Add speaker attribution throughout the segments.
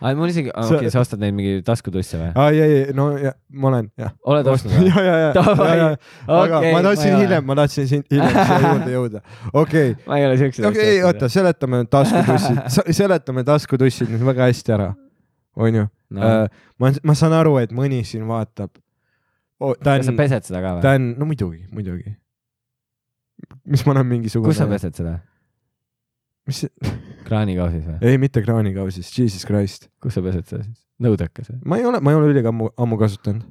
Speaker 1: aa , mul isegi , okei
Speaker 2: Sa-
Speaker 1: okay, , sa ostad neid mingi taskutusse või ?
Speaker 2: aa , ei , ei , no ja, ma olen , Ah, jah .
Speaker 1: Oled ostnud või ?
Speaker 2: ja , ja , ja ,
Speaker 1: Davai.
Speaker 2: ja , aga
Speaker 1: Okei,
Speaker 2: ma
Speaker 1: ma ei
Speaker 2: tahtsin
Speaker 1: ole.
Speaker 2: hiljem , ma tahtsin siin hiljem siia juurde jõuda . okei ,
Speaker 1: ma ei ole siukseid
Speaker 2: okei , ei oota ,. seletame nüüd taskutussid , seletame taskutussid nüüd väga hästi ära , onju .
Speaker 1: No,
Speaker 2: Äh, ma , ma saan aru , et mõni siin vaatab oh, . ta
Speaker 1: kas sa
Speaker 2: on ,
Speaker 1: pesed seda ka või ?
Speaker 2: ta on , no muidugi , muidugi . mis ma olen mingisugune .
Speaker 1: kus sa ? pesed seda ?
Speaker 2: mis ,
Speaker 1: kraanikausis või ?
Speaker 2: ei , mitte kraanikausis , Jesus Christ .
Speaker 1: kus sa pesed seda siis ? nõudekas või ?
Speaker 2: ma ei ole , ma ei ole ülikammu , ammu kasutanud .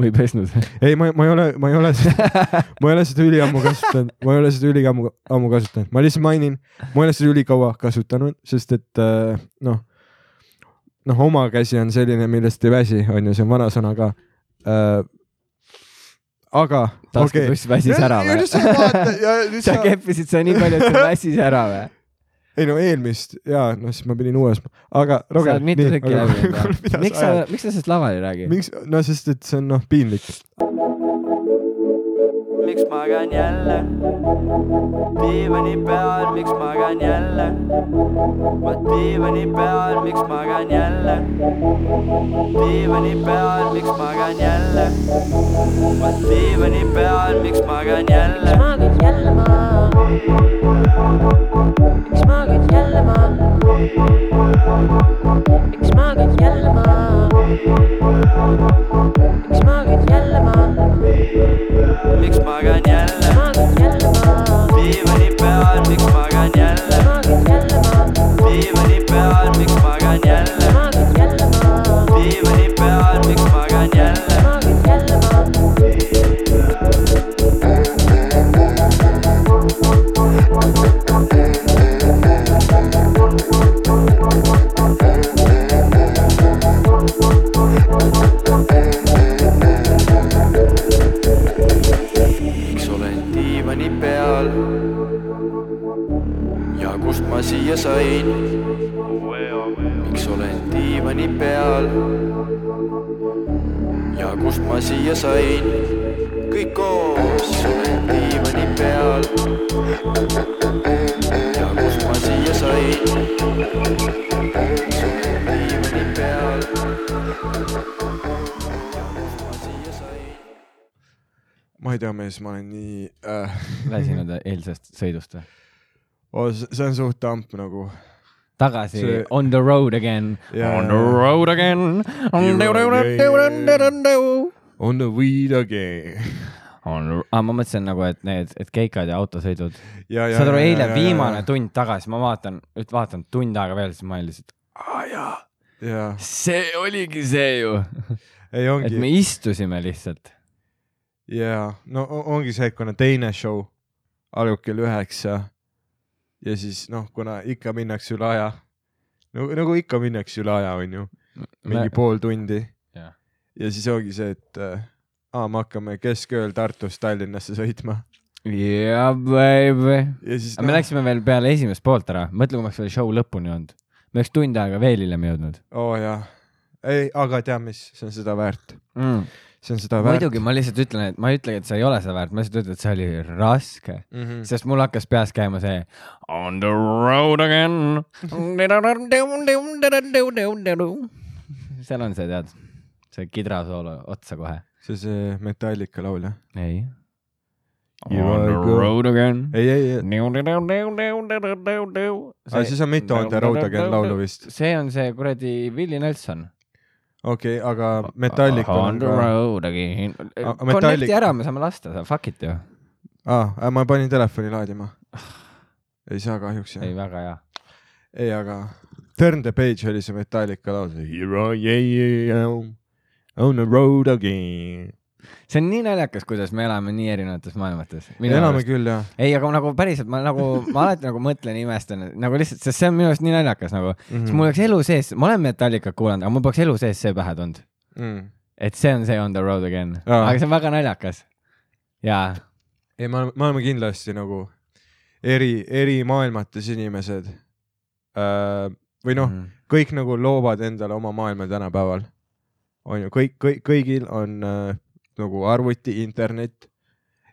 Speaker 1: või pesnud või ?
Speaker 2: ei , ma , ma ei ole , ma ei ole seda , ma ei ole seda üliammu kasutanud , ma ei ole seda üliammu , ammu kasutanud , ma lihtsalt mainin , ma ei ole seda ülikaua kasutanud , sest et äh, noh , noh , oma käsi on selline , millest ei väsi , on ju , see on vanasõna ka äh, . aga , okei .
Speaker 1: taskutuss väsis ära või ? sa
Speaker 2: või ?
Speaker 1: keppisid seda nii palju , et see väsis ära või ?
Speaker 2: ei no eelmist ja noh , siis ma pidin uue ostma , aga .
Speaker 1: sa oled mitu tükki läbi teinud . miks sa , miks sa sellest laval ei räägi ?
Speaker 2: miks , no sest , et see on noh piinlik .
Speaker 3: miks magan jälle diivani peal , miks magan jälle ma diivani peal , miks magan jälle diivani peal , miks magan jälle ma diivani peal , miks magan jälle
Speaker 4: miks maagid jälle ma ? miks maagid jälle ma ? miks maagid jälle ma ? miks maagid jälle ma ?
Speaker 3: miks magan jälle
Speaker 4: maagid jälle ma ?
Speaker 3: diivani peal , miks magan jälle
Speaker 4: maagid jälle ma ?
Speaker 3: diivani peal , miks magan jälle
Speaker 4: maagid jälle ma ?
Speaker 3: diivani peal , miks magan jälle
Speaker 4: maagid jälle ma ?
Speaker 3: miks olen diivani peal ja kust ma siia sain ? miks olen diivani peal ja kust ma siia sain ? kõik koos olen diivani peal ja kust ma siia sain ? diivani peal ja kust ma siia sain ?
Speaker 2: ma ei tea , mees , ma olen nii äh, ,
Speaker 1: väsinud eilsest sõidust või ?
Speaker 2: oh, see on suht amp nagu .
Speaker 1: tagasi see...
Speaker 2: See-
Speaker 1: on the road again
Speaker 2: Jaa.
Speaker 1: on the road again , on the road again ,
Speaker 2: On the weed again .
Speaker 1: on the , aa , ma mõtlesin nagu , et need , et keikad ja autosõidud .
Speaker 2: ja ,
Speaker 1: saad aru , eile viimane . tund tagasi , ma vaatan , nüüd vaatan tund aega veel , siis ma olin lihtsalt , aa jaa ,
Speaker 2: ja ,
Speaker 1: see oligi see ju ,
Speaker 2: ei
Speaker 1: et
Speaker 2: ongi
Speaker 1: me , istusime lihtsalt .
Speaker 2: ja no o- ongi see , et kuna teine show algab kell üheksa ja siis noh , kuna ikka minnakse üle aja , nagu , nagu ikka minnakse üle aja , onju , mingi pool tundi
Speaker 1: Jah.
Speaker 2: ja siis ongi see , et äh, aa , me hakkame keskööl Tartust Tallinnasse sõitma
Speaker 1: jaa , baby .
Speaker 2: ja siis
Speaker 1: aga
Speaker 2: noh,
Speaker 1: me läksime veel peale esimest poolt ära , mõtle , kui me oleks veel show lõpuni olnud . me oleks tund aega veel hiljem jõudnud
Speaker 2: oo oh, jaa , ei , aga tea mis , see on seda väärt ,
Speaker 1: mm. .
Speaker 2: see on seda väärt .
Speaker 1: muidugi , ma lihtsalt ütlen , et ma ei ütlegi , et see ei ole seda väärt , ma lihtsalt ütlen , et see oli raske
Speaker 2: mm . -hmm.
Speaker 1: sest mul hakkas peas käima see on the road again . seal on see , tead , see kidrasoolo otsa kohe .
Speaker 2: see , see Metallica laul jah ?
Speaker 1: ei .
Speaker 2: You are good.
Speaker 1: again .
Speaker 2: ei , ei , ei , aga siis
Speaker 1: see
Speaker 2: on mitu on The Road Again laulu vist .
Speaker 1: see on see kuradi Willie Nelson .
Speaker 2: okei okay, , aga Metallica
Speaker 1: on
Speaker 2: on
Speaker 1: the
Speaker 2: ka .
Speaker 1: road again .
Speaker 2: A- Metallic-
Speaker 1: Connecti ära me saame lasta , fuck it ju .
Speaker 2: aa , Ah, äh, ma panin telefoni laadima . ei saa kahjuks jah
Speaker 1: ei ,. väga hea .
Speaker 2: ei , aga Turn the page oli see Metallica laul . Here I am on the road again .
Speaker 1: see on nii naljakas , kuidas me elame nii erinevates maailmates .
Speaker 2: elame küll jah .
Speaker 1: ei , aga nagu päriselt ma nagu , ma alati nagu mõtlen , imestan , nagu lihtsalt , sest see on minu arust nii naljakas nagu mm. ,
Speaker 2: Mhm.
Speaker 1: sest
Speaker 2: Hmm.
Speaker 1: mul oleks elu sees , ma olen Metallicat kuulanud , aga mul poleks elu sees see pähe tulnud ,
Speaker 2: mm. .
Speaker 1: et see on see On the road again ,
Speaker 2: Aa.
Speaker 1: aga see on väga naljakas . ja
Speaker 2: ei , me oleme , me oleme kindlasti nagu eri , eri maailmates inimesed äh, . või noh ,
Speaker 1: mm.
Speaker 2: kõik nagu loovad endale oma maailma tänapäeval . on ju , kõik , kõik , kõigil on äh, nagu arvuti , internet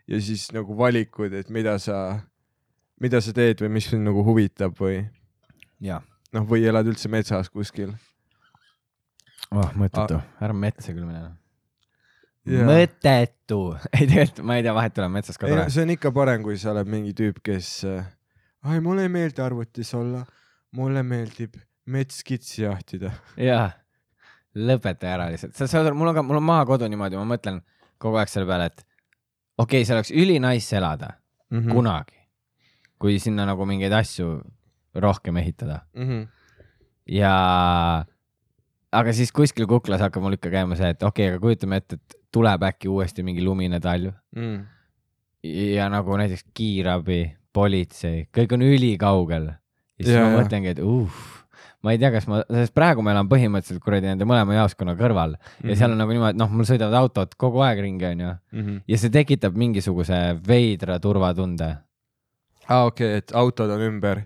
Speaker 2: ja siis nagu valikud , et mida sa , mida sa teed või mis sind nagu huvitab või
Speaker 1: ja ,
Speaker 2: noh , või elad üldse metsas kuskil
Speaker 1: oh , mõttetu , ära metsa küll mine .
Speaker 2: Jaa.
Speaker 1: mõttetu , ei tegelikult ma ei tea , vahet ei ole , metsas ka
Speaker 2: ei no
Speaker 1: tore .
Speaker 2: see on ikka parem , kui sa oled mingi tüüp , kes äh, ai , mulle ei meeldi arvutis olla , mulle meeldib metskitsi jahtida .
Speaker 1: jaa , lõpeta ära lihtsalt , sa saad , mul on ka , mul on maha kodu niimoodi , ma mõtlen kogu aeg selle peale , et okei okay, , see oleks ülinais elada
Speaker 2: Mhm.
Speaker 1: mm. kunagi , kui sinna nagu mingeid asju rohkem ehitada
Speaker 2: kuna .
Speaker 1: ja aga siis kuskil kuklas hakkab mul ikka käima see , et okei okay, , aga kujutame ette , et tuleb äkki uuesti mingi lumine talv
Speaker 2: Mhm.
Speaker 1: ja nagu näiteks kiirabi , politsei , kõik on ülikaugel . ja siis
Speaker 2: Jaa,
Speaker 1: ja, ma
Speaker 2: jaa.
Speaker 1: mõtlengi , et uh, ma ei tea , kas ma , sest praegu ma elan põhimõtteliselt kuradi nende mõlema jaoskonna kõrval mm
Speaker 2: Mhm.
Speaker 1: -hmm. ja seal on nagu niimoodi , et noh , mul sõidavad autod kogu aeg ringi , onju .
Speaker 2: Mhm.
Speaker 1: ja see tekitab mingisuguse veidra turvatunde .
Speaker 2: aa , Ah, okei , et autod on ümber .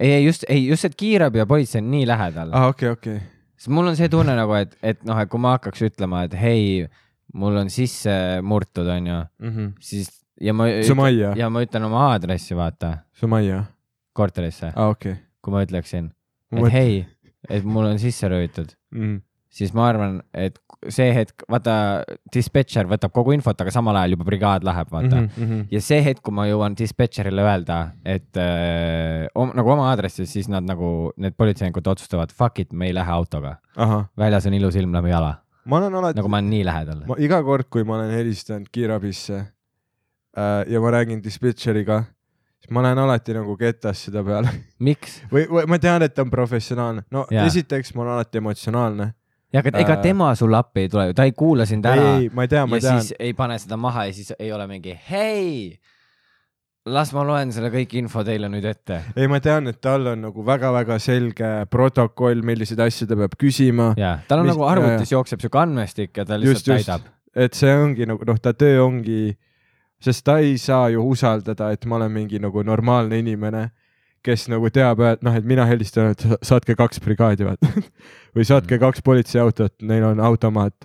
Speaker 1: ei , ei just , ei just , et kiirabi ja politsei on nii lähedal ah. .
Speaker 2: aa , okei , okei .
Speaker 1: sest mul on see tunne nagu , et , et noh , et kui ma hakkaks ütlema , et hei , mul on sisse murtud , onju ,
Speaker 2: Mhm.
Speaker 1: siis ja ma .
Speaker 2: Sumaya ,
Speaker 1: ja ma ütlen oma aadressi , vaata ,
Speaker 2: Sumaya ,
Speaker 1: korterisse .
Speaker 2: aa , okei .
Speaker 1: kui Ah. ma ütleksin , et Mõt... hei , et mul on sisse röövitud ,
Speaker 2: Mhm.
Speaker 1: siis ma arvan , et see hetk , vaata , dispetšer võtab kogu infot , aga samal ajal juba brigaad läheb , vaata mm . -hmm
Speaker 2: Mhm,
Speaker 1: ja see hetk , kui ma jõuan dispetšerile öelda , et öö, om, nagu oma aadressis , siis nad nagu , need politseinikud otsustavad , fuck it , me ei lähe autoga .
Speaker 2: ahah ,
Speaker 1: väljas on ilus ilm läbi jala ,
Speaker 2: ma olen alati
Speaker 1: nagu , ma olen nii lähedal ma... .
Speaker 2: ma iga kord , kui ma olen helistanud kiirabisse äh, ja ma räägin dispetšeriga , siis ma lähen alati nagu ketas seda peale
Speaker 1: miks ?
Speaker 2: või , või ma tean , et ta on professionaalne . no ja.
Speaker 1: Jaa.
Speaker 2: esiteks ma olen alati emotsionaalne .
Speaker 1: ja aga ega
Speaker 2: Äh.
Speaker 1: tema sulle appi ei tule ju , ta ei kuula sind ära
Speaker 2: ei , ma tean , ma
Speaker 1: ja
Speaker 2: tean
Speaker 1: siis . ei pane seda maha ja siis ei ole mingi hei , las ma loen selle kõik info teile nüüd ette .
Speaker 2: ei , ma tean , et tal on nagu väga-väga selge protokoll , milliseid asju ta peab küsima .
Speaker 1: ja tal on
Speaker 2: Mis-
Speaker 1: mis, nagu arvutis jookseb siuke andmestik ja ta
Speaker 2: just ,
Speaker 1: lihtsalt just,
Speaker 2: just
Speaker 1: täidab .,
Speaker 2: et see ongi nagu noh , ta töö ongi , sest ta ei saa ju usaldada , et ma olen mingi nagu normaalne inimene , kes nagu teab , et noh , et mina helistan , et sa- saatke kaks brigaadi , vaata . või saatke
Speaker 1: Mm.
Speaker 2: kaks politseiautot , neil on automaat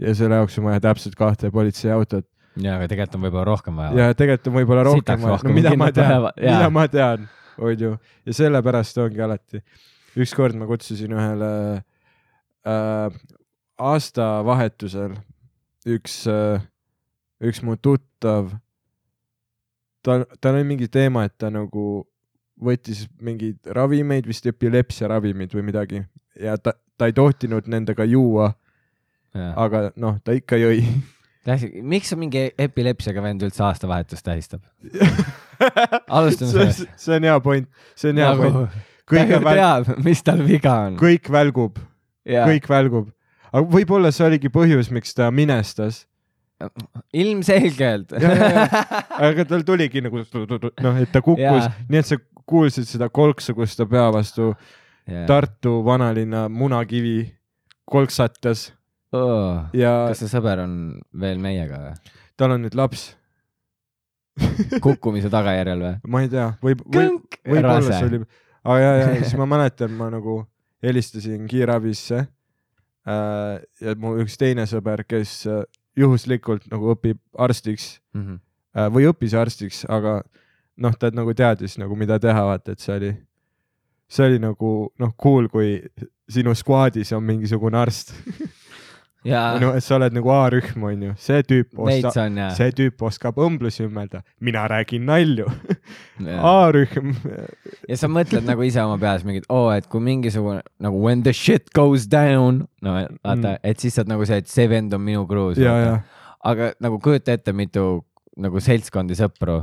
Speaker 2: ja selle jaoks on vaja täpselt kahte politseiautot
Speaker 1: ja , aga tegelikult on võib-olla rohkem vaja .
Speaker 2: ja tegelikult on võib-olla rohkem
Speaker 1: Sitaks
Speaker 2: vaja ,
Speaker 1: rohkem,
Speaker 2: no mida ma
Speaker 1: kindlalt
Speaker 2: tean
Speaker 1: vaja- , jaa.
Speaker 2: mida ma tean , onju , ja sellepärast ongi alati . ükskord ma kutsusin ühele äh, aastavahetusel üks äh, , üks mu tuttav , tal , tal oli mingi teema , et ta nagu võttis mingeid ravimeid , vist epilepsiaravimid või midagi ja ta , ta ei tohtinud nendega juua , aga noh , ta ikka jõi
Speaker 1: miks mingi epilepsiaga vend üldse aastavahetust tähistab ? Alustame
Speaker 2: sellest . see on hea point , see on hea
Speaker 1: nagu
Speaker 2: point .
Speaker 1: ta
Speaker 2: kõik
Speaker 1: ju , teab , mis tal viga on .
Speaker 2: kõik välgub , kõik välgub . aga võib-olla see oligi põhjus , miks ta minestas .
Speaker 1: ilmselgelt .
Speaker 2: aga tal tuligi nagu noh , et ta kukkus
Speaker 1: Jaa. ,
Speaker 2: nii et sa kuulsid seda kolksu , kus ta pea vastu Tartu vanalinna munakivi kolksatas
Speaker 1: Oh, kas
Speaker 2: ja
Speaker 1: see sõber on veel meiega või ?
Speaker 2: tal on nüüd laps .
Speaker 1: kukkumise tagajärjel või ?
Speaker 2: ma ei tea , võib , võib ,
Speaker 1: kõnk ,
Speaker 2: võib-olla see
Speaker 1: rase
Speaker 2: oli , aga ja , ja siis ma mäletan , ma nagu helistasin kiirabisse äh, . ja mu üks teine sõber , kes äh, juhuslikult nagu õpib arstiks
Speaker 1: mm . -hmm.
Speaker 2: äh, või õppis arstiks , aga noh , ta nagu teadis nagu , mida teha , vaata , et see oli , see oli nagu noh , cool , kui sinu skuaadis on mingisugune arst
Speaker 1: ja
Speaker 2: ah. , no et sa oled nagu A-rühm , onju , see tüüp
Speaker 1: veits
Speaker 2: oskab ,
Speaker 1: on ja .
Speaker 2: see tüüp oskab õmblusi ümbelda , mina räägin nalju , A-rühm ,
Speaker 1: ja sa mõtled nagu ise oma peas mingit , oo , et kui mingisugune nagu when the shit goes down , no vaata
Speaker 2: Mm.
Speaker 1: mm. , et siis saad nagu see , et see vend on minu kruus .
Speaker 2: ja , ja
Speaker 1: aga nagu kujuta ette , mitu nagu seltskondi sõpru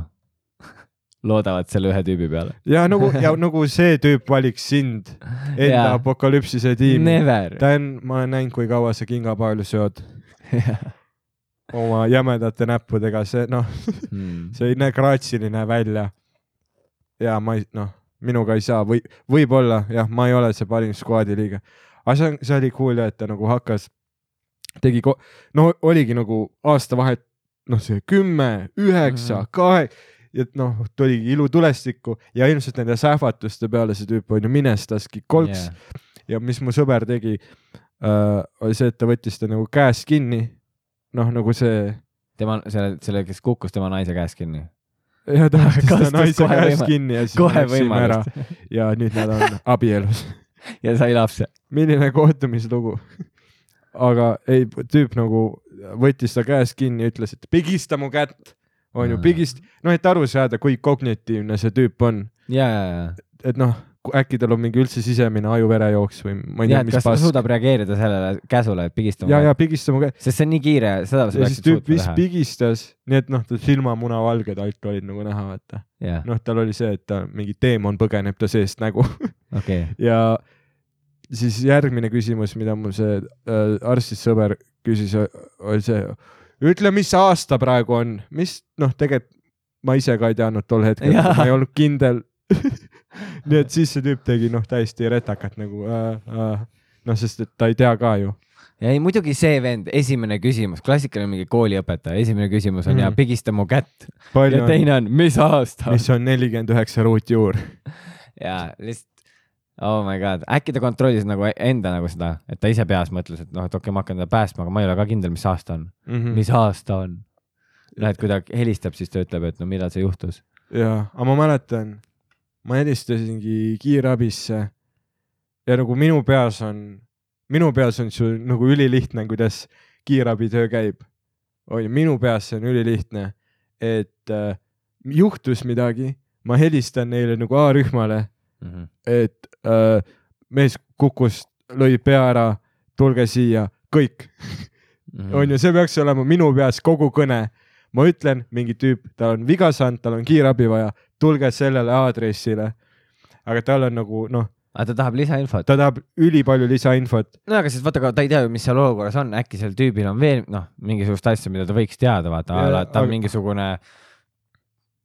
Speaker 1: loodavad selle ühe tüübi peale .
Speaker 2: ja nagu , ja nagu see tüüp valiks sind enda
Speaker 1: Jaa.
Speaker 2: apokalüpsise tiimi .
Speaker 1: Never .
Speaker 2: Dan , ma olen näinud , kui kaua sa kingapaalu sööd oma jämedate näppudega , see noh , see ei näe graatsiline välja . ja ma ei , noh , minuga ei saa või võib-olla jah , ma ei ole see parim skuaadi liige , aga see on , see oli cool ja et ta nagu hakkas , tegi , no oligi nagu aastavahet , noh , see kümme , üheksa , kahe ja et noh , tuligi ilutulestikku ja ilmselt nende sähvatuste peale see tüüp on ju minestaski kolks yeah. ja mis mu sõber tegi äh, , oli see , et ta võttis ta nagu käest kinni , noh nagu see
Speaker 1: tema , selle , selle , kes kukkus tema naise käest kinni .
Speaker 2: ja ta võttis ta
Speaker 1: Kastas
Speaker 2: naise
Speaker 1: kohe
Speaker 2: käest
Speaker 1: võima-
Speaker 2: kinni ja siis
Speaker 1: kohe
Speaker 2: me läksime ära
Speaker 1: võimalust
Speaker 2: ja nüüd nad on abielus .
Speaker 1: ja sai lapse .
Speaker 2: milline kohtumislugu . aga ei , tüüp nagu võttis ta käest kinni ja ütles , et pigista mu kätt , on ju ,
Speaker 1: Aa.
Speaker 2: pigist , noh , et aru saada , kui kognitiivne see tüüp on ,
Speaker 1: ja , ja , ja ,
Speaker 2: et noh , äkki tal on mingi üldse sisemine ajuverejooks või ma ei
Speaker 1: ja ,
Speaker 2: tea ,
Speaker 1: et
Speaker 2: mis
Speaker 1: kas ta
Speaker 2: pass .
Speaker 1: suudab reageerida sellele käsule , et pigistama
Speaker 2: ja , ja pigista mu kätt
Speaker 1: sest see on nii kiire , seda sa
Speaker 2: ja siis
Speaker 1: peaksid
Speaker 2: tüüp
Speaker 1: suutma
Speaker 2: vist
Speaker 1: teha .
Speaker 2: pigistas , nii et noh , ta silmamuna valged alt olid nagu näha , vaata .
Speaker 1: jah ,
Speaker 2: noh , tal oli see , et ta mingi teemon põgeneb ta seest nägu
Speaker 1: okei ,
Speaker 2: ja siis järgmine küsimus , mida mul see äh, arstist sõber küsis , oli see , ütle , mis aasta praegu on , mis noh , tegelikult ma ise ka ei teadnud tol hetkel ,
Speaker 1: Jaa.
Speaker 2: ma ei olnud kindel . nii et siis see tüüp tegi noh , täiesti retakat nagu äh, , äh, noh , sest et ta ei tea ka ju .
Speaker 1: ja ei muidugi see vend , esimene küsimus , klassikaline mingi kooliõpetaja , esimene küsimus on mm. ja
Speaker 2: Mhm.
Speaker 1: pigista mu kätt ja
Speaker 2: palju on ,
Speaker 1: teine on , mis aasta mis...
Speaker 2: mis on nelikümmend üheksa ruutjuur .
Speaker 1: ja lihtsalt oh my god , äkki ta kontrollis nagu enda nagu seda , et ta ise peas mõtles , et noh , et okei okay, , ma hakkan teda päästma , aga ma ei ole ka kindel , mis aasta on mm. ,
Speaker 2: Mhm.
Speaker 1: mis aasta on . näed , kui ta helistab , siis ta ütleb , et no millal see juhtus .
Speaker 2: jaa , aga ma mäletan , ma helistasingi kiirabisse ja nagu minu peas on , minu peas on see nagu ülilihtne , kuidas kiirabitöö käib . on ju , minu peas see on ülilihtne , et äh, juhtus midagi , ma helistan neile nagu A-rühmale ,
Speaker 1: Mm
Speaker 2: Mhm.
Speaker 1: -hmm.
Speaker 2: et äh, mees kukkus , lõi pea ära , tulge siia , kõik
Speaker 1: Mm
Speaker 2: on ju , see peaks olema minu peas kogu kõne . ma ütlen , mingi tüüp , tal on viga saanud , tal on kiirabi vaja , tulge sellele aadressile . aga tal on nagu noh ,
Speaker 1: aga Ah, ta tahab lisainfot .
Speaker 2: ta tahab ülipalju lisainfot .
Speaker 1: no aga siis vaata , ta ei tea ju , mis seal olukorras on , äkki sel tüübil on veel noh , mingisugust asja , mida ta võiks teada , vaata ,
Speaker 2: Jaa,
Speaker 1: et ta on
Speaker 2: aga-
Speaker 1: mingisugune .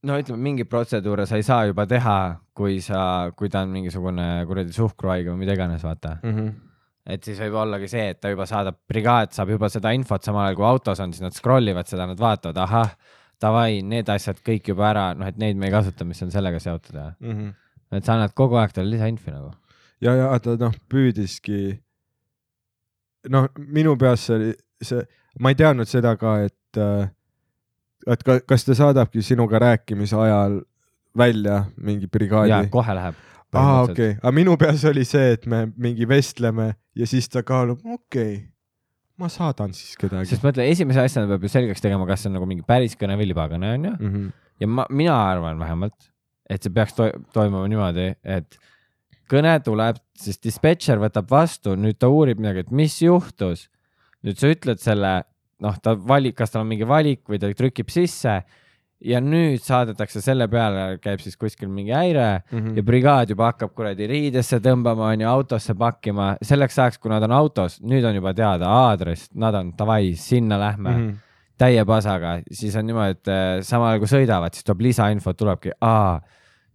Speaker 1: no ütleme , mingi protseduure sa ei saa juba teha , kui sa , kui ta on mingisugune kuradi suhkruhaige või mida iganes , vaata . et siis võib ollagi see , et ta juba saadab , brigaad saab juba seda infot , samal ajal kui autos on , siis nad scroll ivad seda , nad vaatavad , ahah , davai , need asjad kõik juba ära , noh , et neid me ei kasuta , mis on sellega seotud .
Speaker 2: ja ,
Speaker 1: et sa annad kogu aeg talle lisainfi nagu .
Speaker 2: Mhm. ja ta noh püüdiski . noh , minu peas see oli see , ma ei teadnud seda ka , et , et ka, kas ta saadabki sinuga rääkimise ajal välja mingi
Speaker 1: ja
Speaker 2: brigaadi .
Speaker 1: kohe läheb .
Speaker 2: aa , okei , aga minu peas oli see , et me mingi vestleme ja siis ta kaalub , okei okay, , ma saadan siis kedagi .
Speaker 1: sest mõtle , esimese asjana peab ju selgeks tegema , kas see on nagu mingi päris kõne või libakõne onju .
Speaker 2: Mm -hmm.
Speaker 1: ja ma , mina arvan vähemalt , et see peaks to toimuma niimoodi , et kõne tuleb , siis dispetšer võtab vastu , nüüd ta uurib midagi , et mis juhtus . nüüd sa ütled selle , noh , ta valib , kas tal on mingi valik või ta trükib sisse ja nüüd saadetakse selle peale , käib siis kuskil mingi häire
Speaker 2: Mm -hmm.
Speaker 1: ja brigaad juba hakkab kuradi riidesse tõmbama , onju , autosse pakkima , selleks ajaks , kui nad on autos , nüüd on juba teada aadress , nad on davai , sinna lähme mm , -hmm.
Speaker 2: -hmm.
Speaker 1: täie pasaga , siis on niimoodi , et äh, samal ajal kui sõidavad , siis tuleb lisainfot , tulebki , aa ,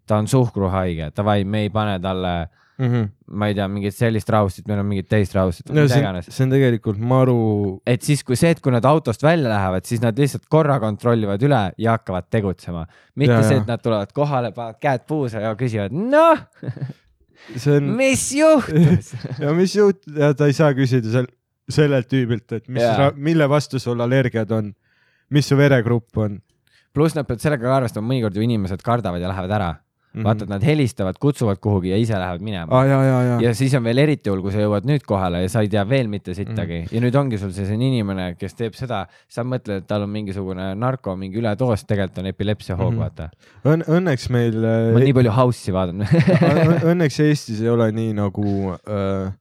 Speaker 1: ta on suhkruhaige , davai , me ei pane talle ,
Speaker 2: Mm -hmm.
Speaker 1: ma ei tea , mingit sellist rahustit , meil on mingit teist rahustit ,
Speaker 2: no
Speaker 1: mida
Speaker 2: see on ,
Speaker 1: iganes .
Speaker 2: see on tegelikult maru ,
Speaker 1: et siis , kui see , et kui nad autost välja lähevad , siis nad lihtsalt korra kontrollivad üle ja hakkavad tegutsema . mitte
Speaker 2: Jaa,
Speaker 1: ja, see ,
Speaker 2: jaa.
Speaker 1: et nad tulevad kohale , panevad käed puusa ja küsivad , noh ,
Speaker 2: see on
Speaker 1: mis juhtus ?
Speaker 2: ja mis juht- ja ta ei saa küsida sel- , sellelt tüübilt , et mis
Speaker 1: Jaa.
Speaker 2: yeah. , mille vastu sul allergiad on , mis su veregrupp on .
Speaker 1: pluss nad peavad sellega ka arvestama , mõnikord ju inimesed kardavad ja lähevad ära mm . -hmm. vaata ,
Speaker 2: Mhm.
Speaker 1: et nad helistavad , kutsuvad kuhugi ja ise lähevad minema
Speaker 2: aa , ja , ja , ja, ja. ,
Speaker 1: ja siis on veel eriti hull , kui sa jõuad nüüd kohale ja sa ei tea veel mitte sittagi mm
Speaker 2: Mhm.
Speaker 1: -hmm. ja nüüd ongi sul selline inimene , kes teeb seda , sa mõtled , et tal on mingisugune narko , mingi üledoos , tegelikult on epilepsiahoog mm ,
Speaker 2: Mhm. Äh,
Speaker 1: -hmm. vaata .
Speaker 2: Õn- , õnneks meil .
Speaker 1: ma olen nii palju House'i vaadanud .
Speaker 2: Õ- õ- õnneks Eestis ei ole nii nagu äh,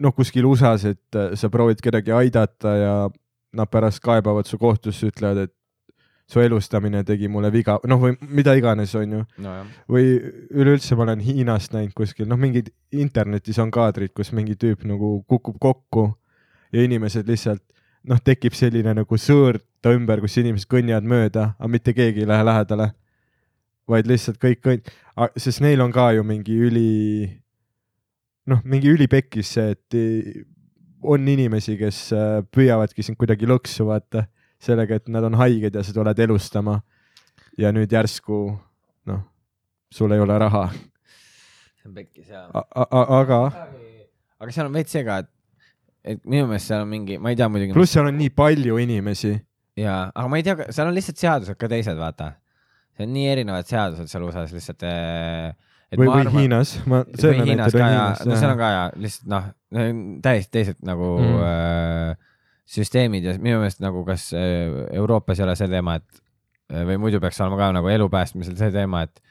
Speaker 2: noh , kuskil USA-s , et äh, sa proovid kedagi aidata ja nad pärast kaebavad su kohtusse , ütlevad , et su elustamine tegi mulle viga , noh või mida iganes , onju .
Speaker 1: nojah ,
Speaker 2: või üleüldse ma olen Hiinast näinud kuskil , noh , mingid internetis on kaadrid , kus mingi tüüp nagu kukub kokku ja inimesed lihtsalt noh , tekib selline nagu sõõr ta ümber , kus inimesed kõnnivad mööda , aga mitte keegi ei lähe lähedale . vaid lihtsalt kõik kõnn- , sest neil on ka ju mingi üli , noh , mingi ülipekkis see , et i- on inimesi , kes äh, püüavadki sind kuidagi lõksu vaata sellega , et nad on haiged ja sa tuled elustama . ja nüüd järsku noh , sul ei ole raha ,
Speaker 1: see on pekkis jaa .
Speaker 2: aga
Speaker 1: aga seal on veits see ka , et , et minu meelest seal on mingi , ma ei tea muidugi .
Speaker 2: pluss seal on nii palju inimesi .
Speaker 1: jaa , aga ma ei tea , seal on lihtsalt seadused ka teised , vaata . see on nii erinevad seadused seal USA-s lihtsalt ,
Speaker 2: või , või . Hiinas , ma .
Speaker 1: või Hiinas ka ja , no seal on ka ja lihtsalt noh , täiesti teised nagu
Speaker 2: Mhm.
Speaker 1: mm. süsteemid ja minu meelest nagu kas äh, Euroopas ei ole see teema , et äh, või muidu peaks olema ka nagu elu päästmisel see teema , et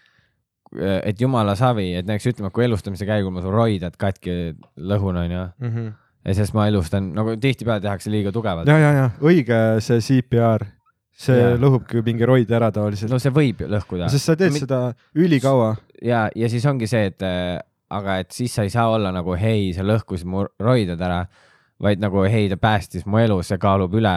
Speaker 1: äh, et jumala savi , et näiteks ütleme , kui elustamise käigul ma sul roidad katki lõhun , onju ,
Speaker 2: on .
Speaker 1: ja siis ma elustan , nagu tihtipeale tehakse liiga tugevalt .
Speaker 2: ja , ja , ja õige see CPR , see
Speaker 1: Jaa.
Speaker 2: lõhubki mingi roid ära tavaliselt
Speaker 1: no
Speaker 2: no, ,
Speaker 1: see võib ju lõhkuda
Speaker 2: sest sa teed
Speaker 1: Mi-
Speaker 2: seda ülikaua ..
Speaker 1: ja , ja siis ongi see , et äh, aga et siis sa ei saa olla nagu hei , sa lõhkusid mu roided ära , vaid nagu hei , ta päästis mu elu , see kaalub üle ,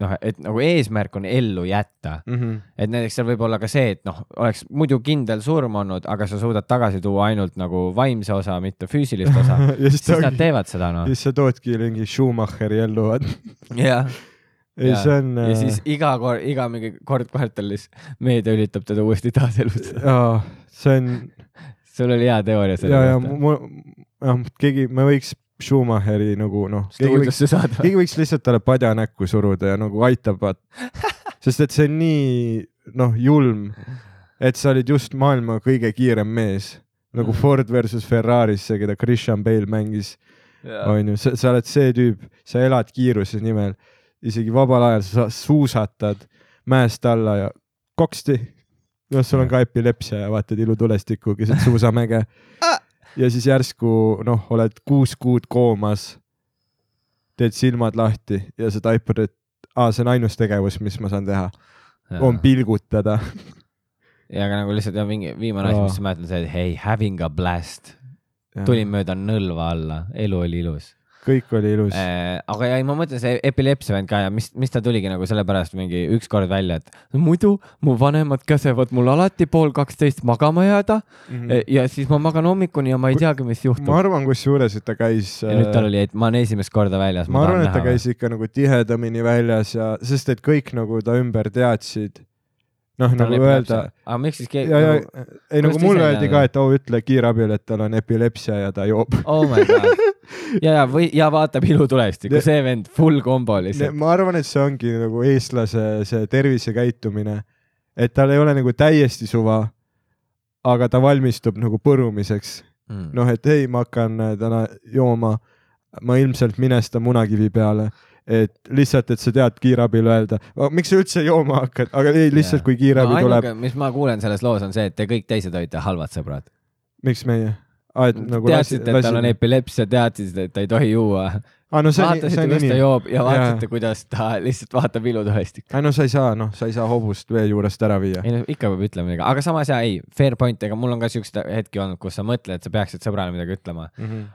Speaker 1: noh , et nagu eesmärk on ellu jätta . et näiteks seal võib olla ka see , et noh , oleks muidu kindel surm olnud , aga sa suudad tagasi tuua ainult nagu vaimse osa , mitte füüsilist osa
Speaker 2: ja siis ta
Speaker 1: siis nad
Speaker 2: ongi ,
Speaker 1: teevad seda
Speaker 2: ja
Speaker 1: noh .
Speaker 2: siis sa toodki mingi Schumacheri ellu , vaata .
Speaker 1: jah .
Speaker 2: ei , see on . äh,
Speaker 1: ja siis iga kord , iga mingi kord kvartalis meedia üritab teda uuesti taaselustada .
Speaker 2: jaa , see on ,
Speaker 1: sul oli hea teooria
Speaker 2: ja ,
Speaker 1: selle
Speaker 2: ja mul , jah , keegi , me võiks Schumacheri nagu noh , keegi võiks ,
Speaker 1: stuudiosse saada .
Speaker 2: keegi võiks lihtsalt talle padja näkku suruda ja nagu aitab , vaata . sest et see on nii , noh , julm , et sa olid just maailma kõige kiirem mees nagu Ford versus Ferraris , see , keda Christian Bale mängis , onju , sa , sa oled see tüüp , sa elad kiiruse nimel , isegi vabal ajal sa suusatad mäest alla ja koksti . noh , sul on ka epilepsia ja vaatad ilutulestikku keset suusamäge .
Speaker 1: Ah!
Speaker 2: ja siis järsku noh , oled kuus kuud koomas . teed silmad lahti ja sa taipad , et aa , see on ainus tegevus , mis ma saan teha , on pilgutada .
Speaker 1: ja aga nagu lihtsalt jah, mingi viimane asi ,
Speaker 2: Aa.
Speaker 1: mis ma mäletan , see , et hei , having a blast , tulin mööda nõlva alla , elu oli ilus
Speaker 2: kõik oli ilus .
Speaker 1: äh, . aga ja ei , ma mõtlen see epilepsia vend ka ja mis , mis ta tuligi nagu sellepärast mingi ükskord välja , et muidu mu vanemad käsevad mul alati pool kaksteist magama jääda mm. ja siis ma magan hommikuni ja ma ei teagi , mis
Speaker 2: Mhm. ma
Speaker 1: juhtub .
Speaker 2: arvan , kusjuures , et ta käis .
Speaker 1: ja nüüd tal oli , et ma olen esimest korda väljas .
Speaker 2: ma arvan , et ta käis ikka nagu tihedamini väljas ja , sest et kõik nagu ta ümber teadsid . noh , nagu öelda ,
Speaker 1: aga miks siis
Speaker 2: ja ,
Speaker 1: keegi
Speaker 2: ja , ei nagu
Speaker 1: ta ise
Speaker 2: mulle
Speaker 1: ei
Speaker 2: öeldi
Speaker 1: teadnud?
Speaker 2: ka , et oo , ütle kiirabile , et tal on epilepsia ja ta joob .
Speaker 1: oh my god ja , ja või , ja vaatab ilutulestikku ,
Speaker 2: Ne-
Speaker 1: see vend , full combo lihtsalt .
Speaker 2: ma arvan , et see ongi nagu eestlase see tervisekäitumine , et tal ei ole nagu täiesti suva , aga ta valmistub nagu põrumiseks .
Speaker 1: Hmm.
Speaker 2: noh , et ei , ma hakkan äh, täna jooma , ma ilmselt minestan munakivi peale , et lihtsalt , et sa tead kiirabile öelda , miks sa üldse jooma hakkad , aga ei , lihtsalt yeah. kui kiirabi no, tuleb ,.
Speaker 1: mis ma kuulen selles loos on see , et te kõik teised olite halvad sõbrad .
Speaker 2: miks meie ? aa , et nagu
Speaker 1: teadsite , et tal on epilepsia , teadsite , et ta ei tohi juua .
Speaker 2: aa , no see on ,
Speaker 1: vaatasite ,
Speaker 2: see
Speaker 1: kuidas ta
Speaker 2: on inimene .
Speaker 1: joob ja vaatasite , kuidas ta lihtsalt vaatab ilutulestikku .
Speaker 2: ei no sa ei saa , noh , sa ei saa hobust vee juurest ära viia .
Speaker 1: ei no ikka peab ütlema midagi , aga samas ja ei , fair point , ega mul on ka siukseid hetki olnud , kus sa mõtled , et sa peaksid sõbrale midagi ütlema ,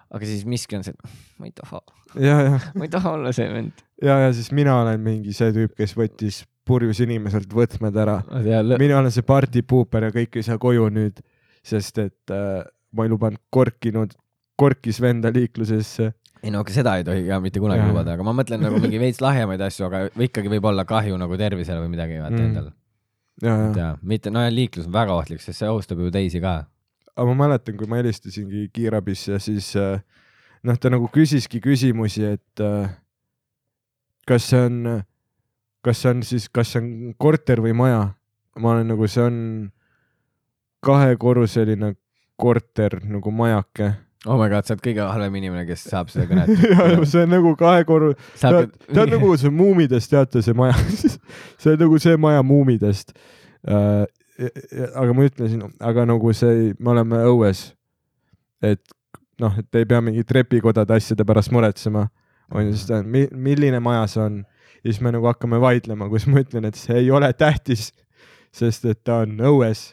Speaker 1: aga siis miski on see , et ma ei taha ,
Speaker 2: Mhm. ja , ja ,
Speaker 1: ma ei taha olla see vend .
Speaker 2: ja , ja siis mina olen mingi see tüüp , kes võttis purjus inimeselt võtmed ära . mina olen see party pooper ja kõik ei saa koju nüüd , sest et äh, ma ei lubanud korkinud , korkis venda liiklusesse .
Speaker 1: ei no aga seda ei tohi ka mitte kunagi
Speaker 2: Jaa.
Speaker 1: lubada , aga ma mõtlen nagu mingi veits lahjemaid asju , aga ikkagi võib olla kahju nagu tervisele või midagi vaata
Speaker 2: Mm.
Speaker 1: endal .
Speaker 2: ja , ja ,
Speaker 1: jaa , mitte , no ja liiklus on väga ohtlik , sest see ohustab ju teisi ka .
Speaker 2: aga ma mäletan , kui ma helistasingi kiirabisse , siis äh, noh , ta nagu küsiski küsimusi , et äh, kas see on , kas see on siis , kas see on korter või maja ? ma olen nagu , see on kahekorruseline korter nagu majake .
Speaker 1: oh my god , sa oled kõige halvem inimene , kes saab seda kõnet .
Speaker 2: see on nagu kahekorru- ,
Speaker 1: sa
Speaker 2: tead , tead nagu see muumidest , teate see maja , see on nagu see maja muumidest . aga ma ütlesin , aga nagu see , me oleme õues . et noh , et ei pea mingi trepikodade asjade pärast muretsema , onju , siis ta on , milline maja see on . ja siis me nagu hakkame vaidlema , kus ma ütlen , et see ei ole tähtis , sest et ta on õues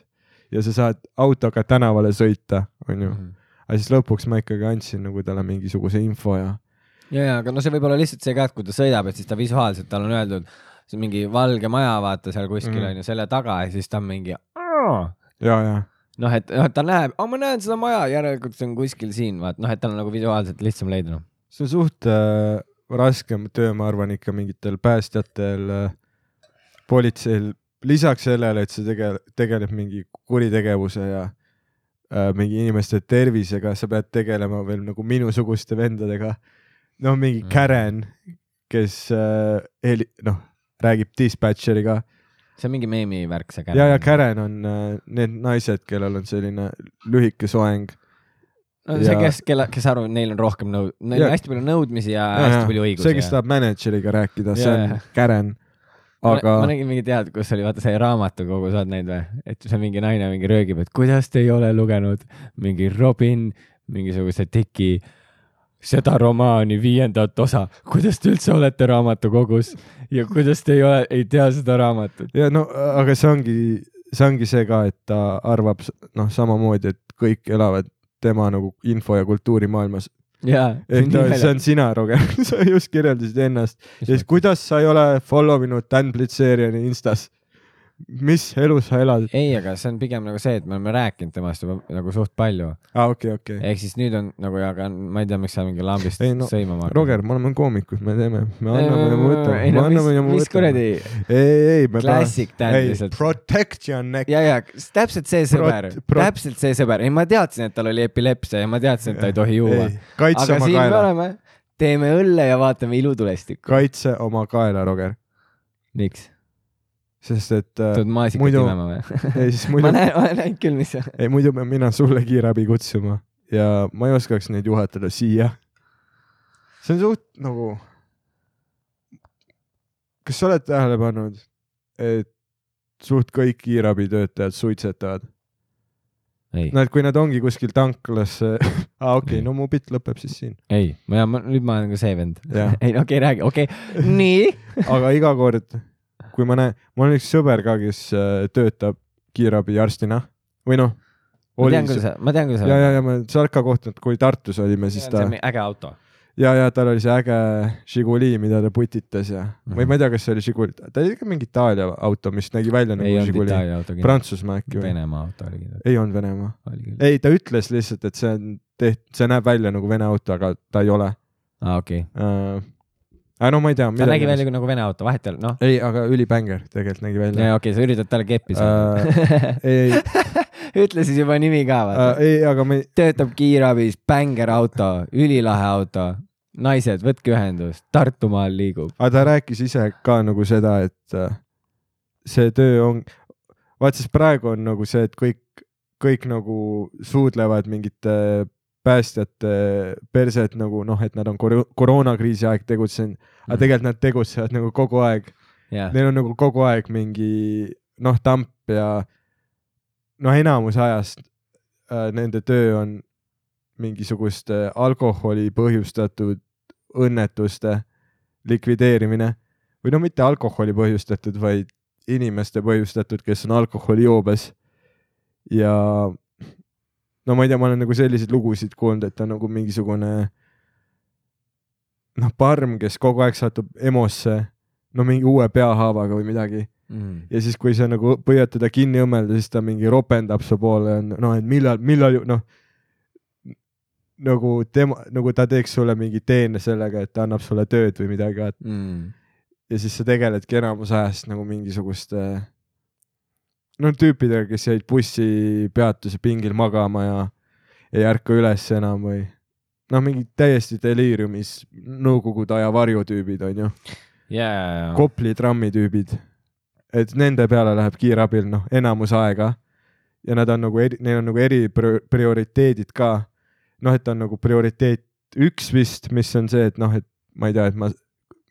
Speaker 2: ja sa saad autoga tänavale sõita , onju . aga siis lõpuks ma ikkagi andsin nagu talle mingisuguse info ja
Speaker 1: ja , ja , aga no see võib olla lihtsalt see ka , et kui ta sõidab , et siis ta visuaalselt , tal on öeldud , see on mingi valge maja , vaata seal kuskil
Speaker 2: Mhm.
Speaker 1: on ju selle taga ja siis ta on mingi
Speaker 2: ja , ja
Speaker 1: noh , et noh, et ta näeb , aa , ma näen seda maja , järelikult see on kuskil siin , vaat noh , et tal on nagu visuaalselt lihtsam leida , noh .
Speaker 2: see on suht äh, raskem töö , ma arvan ikka mingitel päästjatel äh, , politseil , lisaks sellele , et sa tege- , tegeled mingi kuritegevuse ja äh, mingi inimeste tervisega , sa pead tegelema veel nagu minusuguste vendadega . no mingi
Speaker 1: Mm.
Speaker 2: Karen , kes äh, heli- , noh , räägib dispatcheriga ,
Speaker 1: see on mingi meemi värk , see
Speaker 2: ja , ja . Karen on äh, need naised , kellel on selline lühike soeng .
Speaker 1: no see ,
Speaker 2: ja-
Speaker 1: kes , kelle , kes arvab , et neil on rohkem nõu- , neil
Speaker 2: Ja-
Speaker 1: on hästi palju nõudmisi ja Äh, hästi palju õigusi .
Speaker 2: see , kes tahab mänedžeriga rääkida , see
Speaker 1: Ja,
Speaker 2: on
Speaker 1: ja.
Speaker 2: Karen . aga
Speaker 1: ma, ma nägin mingit head , kus oli vaata see raamatukogu , sa oled näinud või , et see mingi naine mingi röögib , et kuidas te ei ole lugenud mingi Robin , mingisuguse tiki , seda romaani viiendat osa , kuidas te üldse olete raamatukogus ja kuidas te ei ole , ei tea seda raamatut .
Speaker 2: ja no aga see ongi , see ongi see ka , et ta arvab s- noh , samamoodi , et kõik elavad tema nagu info ja kultuurimaailmas .
Speaker 1: jaa .
Speaker 2: et ta- see on sina , Roger , sa just kirjeldasid ennast . ja siis , kuidas sa ei ole follow inud Dan Blitseriani Instas ? mis elu sa elad ?
Speaker 1: ei , aga see on pigem nagu see , et me oleme rääkinud temast juba nagu suht palju ,
Speaker 2: aa , Ah, okei , okei .
Speaker 1: ehk siis nüüd on nagu , aga ma ei tea , miks sa mingi lambist
Speaker 2: Ei, no,
Speaker 1: sõimama hakkad .
Speaker 2: Roger , me oleme koomikud , me teeme , me anname ja me võtame ,
Speaker 1: ei
Speaker 2: me
Speaker 1: no mis
Speaker 2: anname ja , me
Speaker 1: mis
Speaker 2: võtame .
Speaker 1: kuradi
Speaker 2: ei , ei , me
Speaker 1: Classic Dan
Speaker 2: ei,
Speaker 1: lihtsalt.
Speaker 2: Protect your neck .
Speaker 1: ja , ja s- täpselt see sõber
Speaker 2: Prot- , prot-
Speaker 1: täpselt see sõber , ei ma teadsin , et tal oli epilepsia ja ma teadsin , et ta ei tohi juua .
Speaker 2: kaitse
Speaker 1: aga
Speaker 2: oma
Speaker 1: siin me
Speaker 2: kaela ,
Speaker 1: oleme , teeme õlle ja vaatame ilutulestikku .
Speaker 2: kaitse oma kaela , Roger ,
Speaker 1: miks ?
Speaker 2: sest et äh,
Speaker 1: tuled maasikat
Speaker 2: muidu-
Speaker 1: imema või ?
Speaker 2: ei , siis
Speaker 1: ma
Speaker 2: muidu ,
Speaker 1: näen , ma näen küll , mis see on .
Speaker 2: ei muidu pean mina sulle kiirabi kutsuma ja ma ei oskaks neid juhatada siia . see on suht nagu . kas sa oled tähele pannud , et suht kõik kiirabitöötajad suitsetavad ?
Speaker 1: ei ,
Speaker 2: no et kui nad ongi kuskil tanklas , aa okei
Speaker 1: Ei. ,
Speaker 2: no mu bitt lõpeb siis siin ,
Speaker 1: ei , ma , ma nüüd ma olen ka see vend .
Speaker 2: jah .
Speaker 1: ei , okei , räägi , okei , nii .
Speaker 2: aga iga kord , kui ma näen , mul on üks sõber ka , kes äh, töötab kiirabiarstina või noh .
Speaker 1: ma tean küll seda , ma tean küll
Speaker 2: ja ,
Speaker 1: seda .
Speaker 2: ja , ja ma Sarka kohtunud , kui Tartus olime , siis ta
Speaker 1: äge auto .
Speaker 2: ja , ja tal oli see äge Žiguli , mida ta putitas ja või
Speaker 1: Mhm.
Speaker 2: ma ei tea , kas see oli Žiguli , ta oli ikka mingi Itaalia auto , mis nägi välja
Speaker 1: ei
Speaker 2: nagu
Speaker 1: olnud
Speaker 2: Žiguli ,
Speaker 1: Itaalia auto kindlasti .
Speaker 2: Prantsusmaa äkki või ?
Speaker 1: Venemaa auto oli kindlasti .
Speaker 2: ei olnud Venemaa ,
Speaker 1: oli küll .
Speaker 2: ei ta ütles lihtsalt , et see on tehtud , see näeb välja nagu Vene auto , aga ta ei ole
Speaker 1: aa , okei .
Speaker 2: äh, . aga no ma ei tea .
Speaker 1: ta nägi välja kui nagu Vene auto , vahet ei ole , noh .
Speaker 2: ei , aga ülibänger tegelikult nägi välja .
Speaker 1: jaa , okei , sa üritad talle keppi
Speaker 2: Äh,
Speaker 1: saada .
Speaker 2: ei , ei ,
Speaker 1: ütle siis juba nimi ka , vaata äh, .
Speaker 2: ei , aga me ,
Speaker 1: töötab kiirabis , bängerauto , ülilahe auto . naised , võtke ühendust , Tartumaal liigub .
Speaker 2: aga ta rääkis ise ka nagu seda , et äh, see töö on , vaat siis praegu on nagu see , et kõik , kõik nagu suudlevad mingite päästjate perset nagu noh , et nad on kor- koroonakriisi aeg tegutsenud , aga
Speaker 1: Mhm.
Speaker 2: tegelikult nad tegutsevad nagu kogu aeg ,
Speaker 1: jah ,
Speaker 2: neil on nagu kogu aeg mingi noh , tamp ja noh , enamus ajast äh, nende töö on mingisuguste alkoholi põhjustatud õnnetuste likvideerimine või no mitte alkoholi põhjustatud , vaid inimeste põhjustatud , kes on alkoholijoobes . ja no ma ei tea , ma olen nagu selliseid lugusid kuulnud , et on nagu mingisugune noh , parm , kes kogu aeg satub EMO-sse , no mingi uue peahaavaga või midagi
Speaker 1: mm.
Speaker 2: ja siis , kui sa nagu püüad teda kinni õmmelda , siis ta mingi ropendab su poole , noh , et millal , millal ju noh . nagu tema , nagu ta teeks sulle mingi teene sellega , et ta annab sulle tööd või midagi , vaata .
Speaker 1: Mm.
Speaker 2: ja siis sa tegeledki enamus ajast nagu mingisuguste no tüüpidega , kes jäid bussipeatuse pingil magama ja ei ärka üles enam või noh , mingid täiesti deliiriumis nõukogude aja varjutüübid onju ,
Speaker 1: ja , ja , ja ,
Speaker 2: Kopli trammi tüübid . et nende peale läheb kiirabil noh , enamus aega ja nad on nagu eri , neil on nagu eri prio- prioriteedid ka . noh , et on nagu prioriteet üks vist , mis on see , et noh , et ma ei tea , et ma ,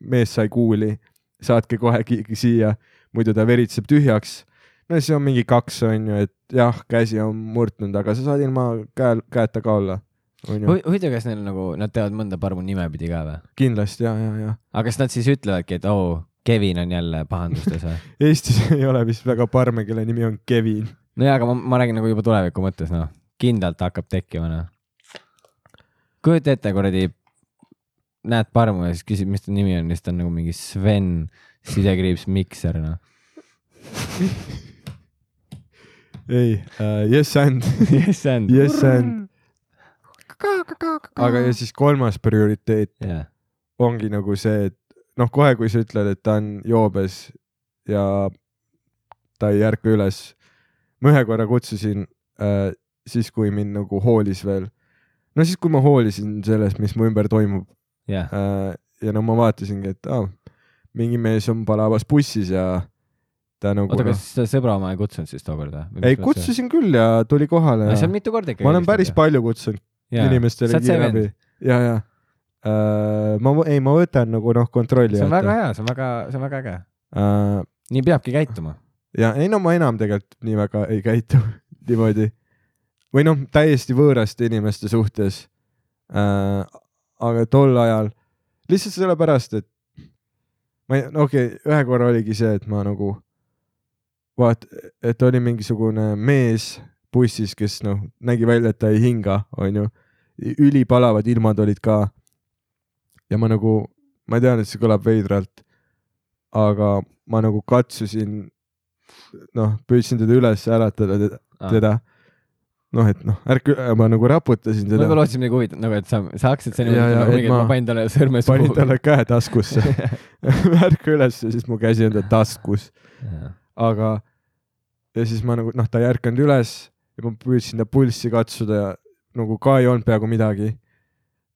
Speaker 2: mees sai kuuli , saatke kohe ki- siia , muidu ta veritseb tühjaks . no siis on mingi kaks , on ju , et jah , käsi on murtunud , aga sa saad ilma käel , käeta ka olla . on ju ,
Speaker 1: huvitav , kas neil nagu , nad teavad mõnda parmu nimepidi ka või ?
Speaker 2: kindlasti ja , ja , ja .
Speaker 1: aga kas nad siis ütlevadki , et oo oh, , Kevin on jälle pahandustes või ?
Speaker 2: Eestis ei ole vist väga parme , kelle nimi on Kevin .
Speaker 1: nojaa , aga ma , ma räägin nagu juba tuleviku mõttes , noh , kindlalt hakkab tekkima , noh . kujuta ette , kuradi , näed parmu ja siis küsid , mis ta nimi on , siis ta on nagu mingi Sven sidekriips Mikser , noh .
Speaker 2: ei uh, , yes and ,
Speaker 1: Yes and .
Speaker 2: yes and . aga ja siis kolmas prioriteet
Speaker 1: jah ,
Speaker 2: ongi nagu see , et noh , kohe kui sa ütled , et ta on joobes ja ta ei ärka üles . ma ühe korra kutsusin äh, siis , kui mind nagu hoolis veel . no siis , kui ma hoolisin sellest , mis mu ümber toimub
Speaker 1: jah .
Speaker 2: äh, ja no ma vaatasingi , et aa , mingi mees on palavas bussis ja ta nagu
Speaker 1: oota , kas sa sõbra oma ei kutsunud siis tookord või ?
Speaker 2: ei ,. kutsusin küll ja tuli kohale
Speaker 1: sa
Speaker 2: ja
Speaker 1: oled mitu korda ikka .
Speaker 2: ma olen päris palju kutsunud inimestele kiirabi
Speaker 1: kiirabi .
Speaker 2: ja , ja Äh, ma , ei , ma võtan nagu noh , kontrolli
Speaker 1: see on väga
Speaker 2: alt .
Speaker 1: hea , see on väga , see on väga äge .
Speaker 2: Äh,
Speaker 1: nii peabki käituma .
Speaker 2: ja ei no ma enam tegelikult nii väga ei käitu niimoodi või noh , täiesti võõraste inimeste suhtes äh, . aga tol ajal lihtsalt sellepärast , et ma ei , no okei okay, , ühe korra oligi see , et ma nagu vaat- , et oli mingisugune mees bussis , kes noh , nägi välja , et ta ei hinga , onju . ülipalavad ilmad olid ka . ja ma nagu , ma tean , et see kõlab veidralt , aga ma nagu katsusin , noh , püüdsin teda üles äratada , teda . noh , et noh , ärke , ma nagu raputasin
Speaker 1: ma juba
Speaker 2: teda ,
Speaker 1: lootsin midagi huvitavat , nagu et sa , sa hakkasid selle
Speaker 2: Jaa, jaa,
Speaker 1: nagu
Speaker 2: et
Speaker 1: mingi , et ma
Speaker 2: ma-
Speaker 1: panin talle sõrme
Speaker 2: panin talle käe taskusse , ärka üles ja siis mu käsi on ta taskus . aga ja siis ma nagu noh , ta ei ärkanud üles ja ma püüdsin ta pulssi katsuda ja nagu ka ei olnud peaaegu midagi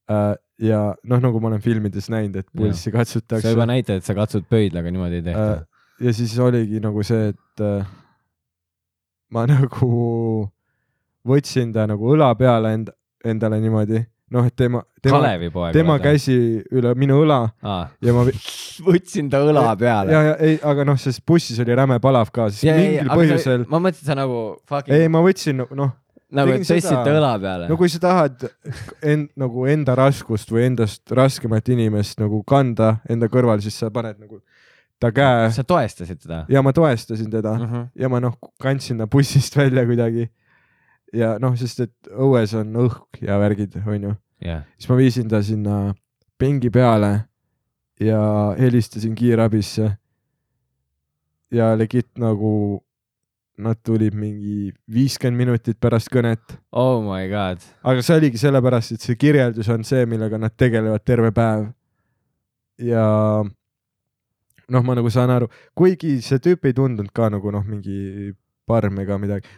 Speaker 2: äh, . ja noh , nagu ma olen filmides näinud , et pulssi
Speaker 1: sa juba
Speaker 2: katsutakse .
Speaker 1: näitad , et sa katsud pöidlaga , niimoodi ei tehta
Speaker 2: Äh, . ja siis oligi nagu see , et äh, ma nagu võtsin ta nagu õla peale end- , endale niimoodi , noh , et tema , tema ,
Speaker 1: Kalevi poeg .
Speaker 2: tema . käsi üle minu õla ja ma
Speaker 1: võtsin ta õla peale
Speaker 2: ja ,. ja ei , aga noh , sest bussis oli räme palav ka , siis mingil põhjusel ,
Speaker 1: ma mõtlesin , et sa nagu fucking
Speaker 2: ei , ma võtsin nagu, noh ,
Speaker 1: nagu
Speaker 2: tegin
Speaker 1: et tõstsid
Speaker 2: seda-
Speaker 1: ta õla peale
Speaker 2: no . kui sa tahad end nagu enda raskust või endast raskemat inimest nagu kanda enda kõrval , siis sa paned nagu ta käe
Speaker 1: sa toestasid teda ? Mhm.
Speaker 2: ja ma toestasin teda
Speaker 1: mhmh ,
Speaker 2: ja ma noh , kandsin ta bussist välja kuidagi . ja noh , sest et õues on õhk ja värgid , onju ,
Speaker 1: jah .
Speaker 2: siis ma viisin ta sinna pingi peale ja helistasin kiirabisse . ja legit nagu nad tulid mingi viiskümmend minutit pärast kõnet
Speaker 1: Oh my god .
Speaker 2: aga see oligi sellepärast , et see kirjeldus on see , millega nad tegelevad terve päev . ja noh , ma nagu saan aru , kuigi see tüüp ei tundunud ka nagu noh , mingi parm ega midagi .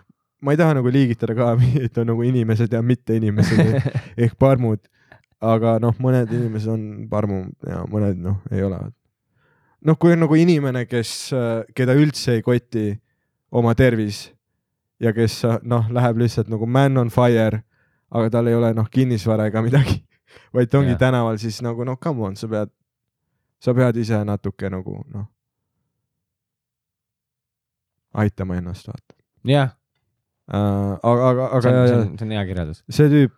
Speaker 2: ma ei taha nagu liigitada ka , et on nagu inimesed ja mitteinimesed ehk parmud . aga noh , mõned inimesed on parmud ja mõned noh , ei ole . noh , kui on nagu inimene , kes , keda üldse ei koti oma tervis ja kes noh , läheb lihtsalt nagu man on fire , aga tal ei ole noh , kinnisvara ega midagi , vaid ta ongi
Speaker 1: Jah.
Speaker 2: yeah. tänaval , siis nagu noh , come on , sa pead , sa pead ise natuke nagu noh , aitama ennast vaata
Speaker 1: jah ,
Speaker 2: äh, . aga , aga ,
Speaker 1: see
Speaker 2: aga
Speaker 1: on- see
Speaker 2: ja , ja
Speaker 1: on- see on hea kirjeldus .
Speaker 2: see tüüp ,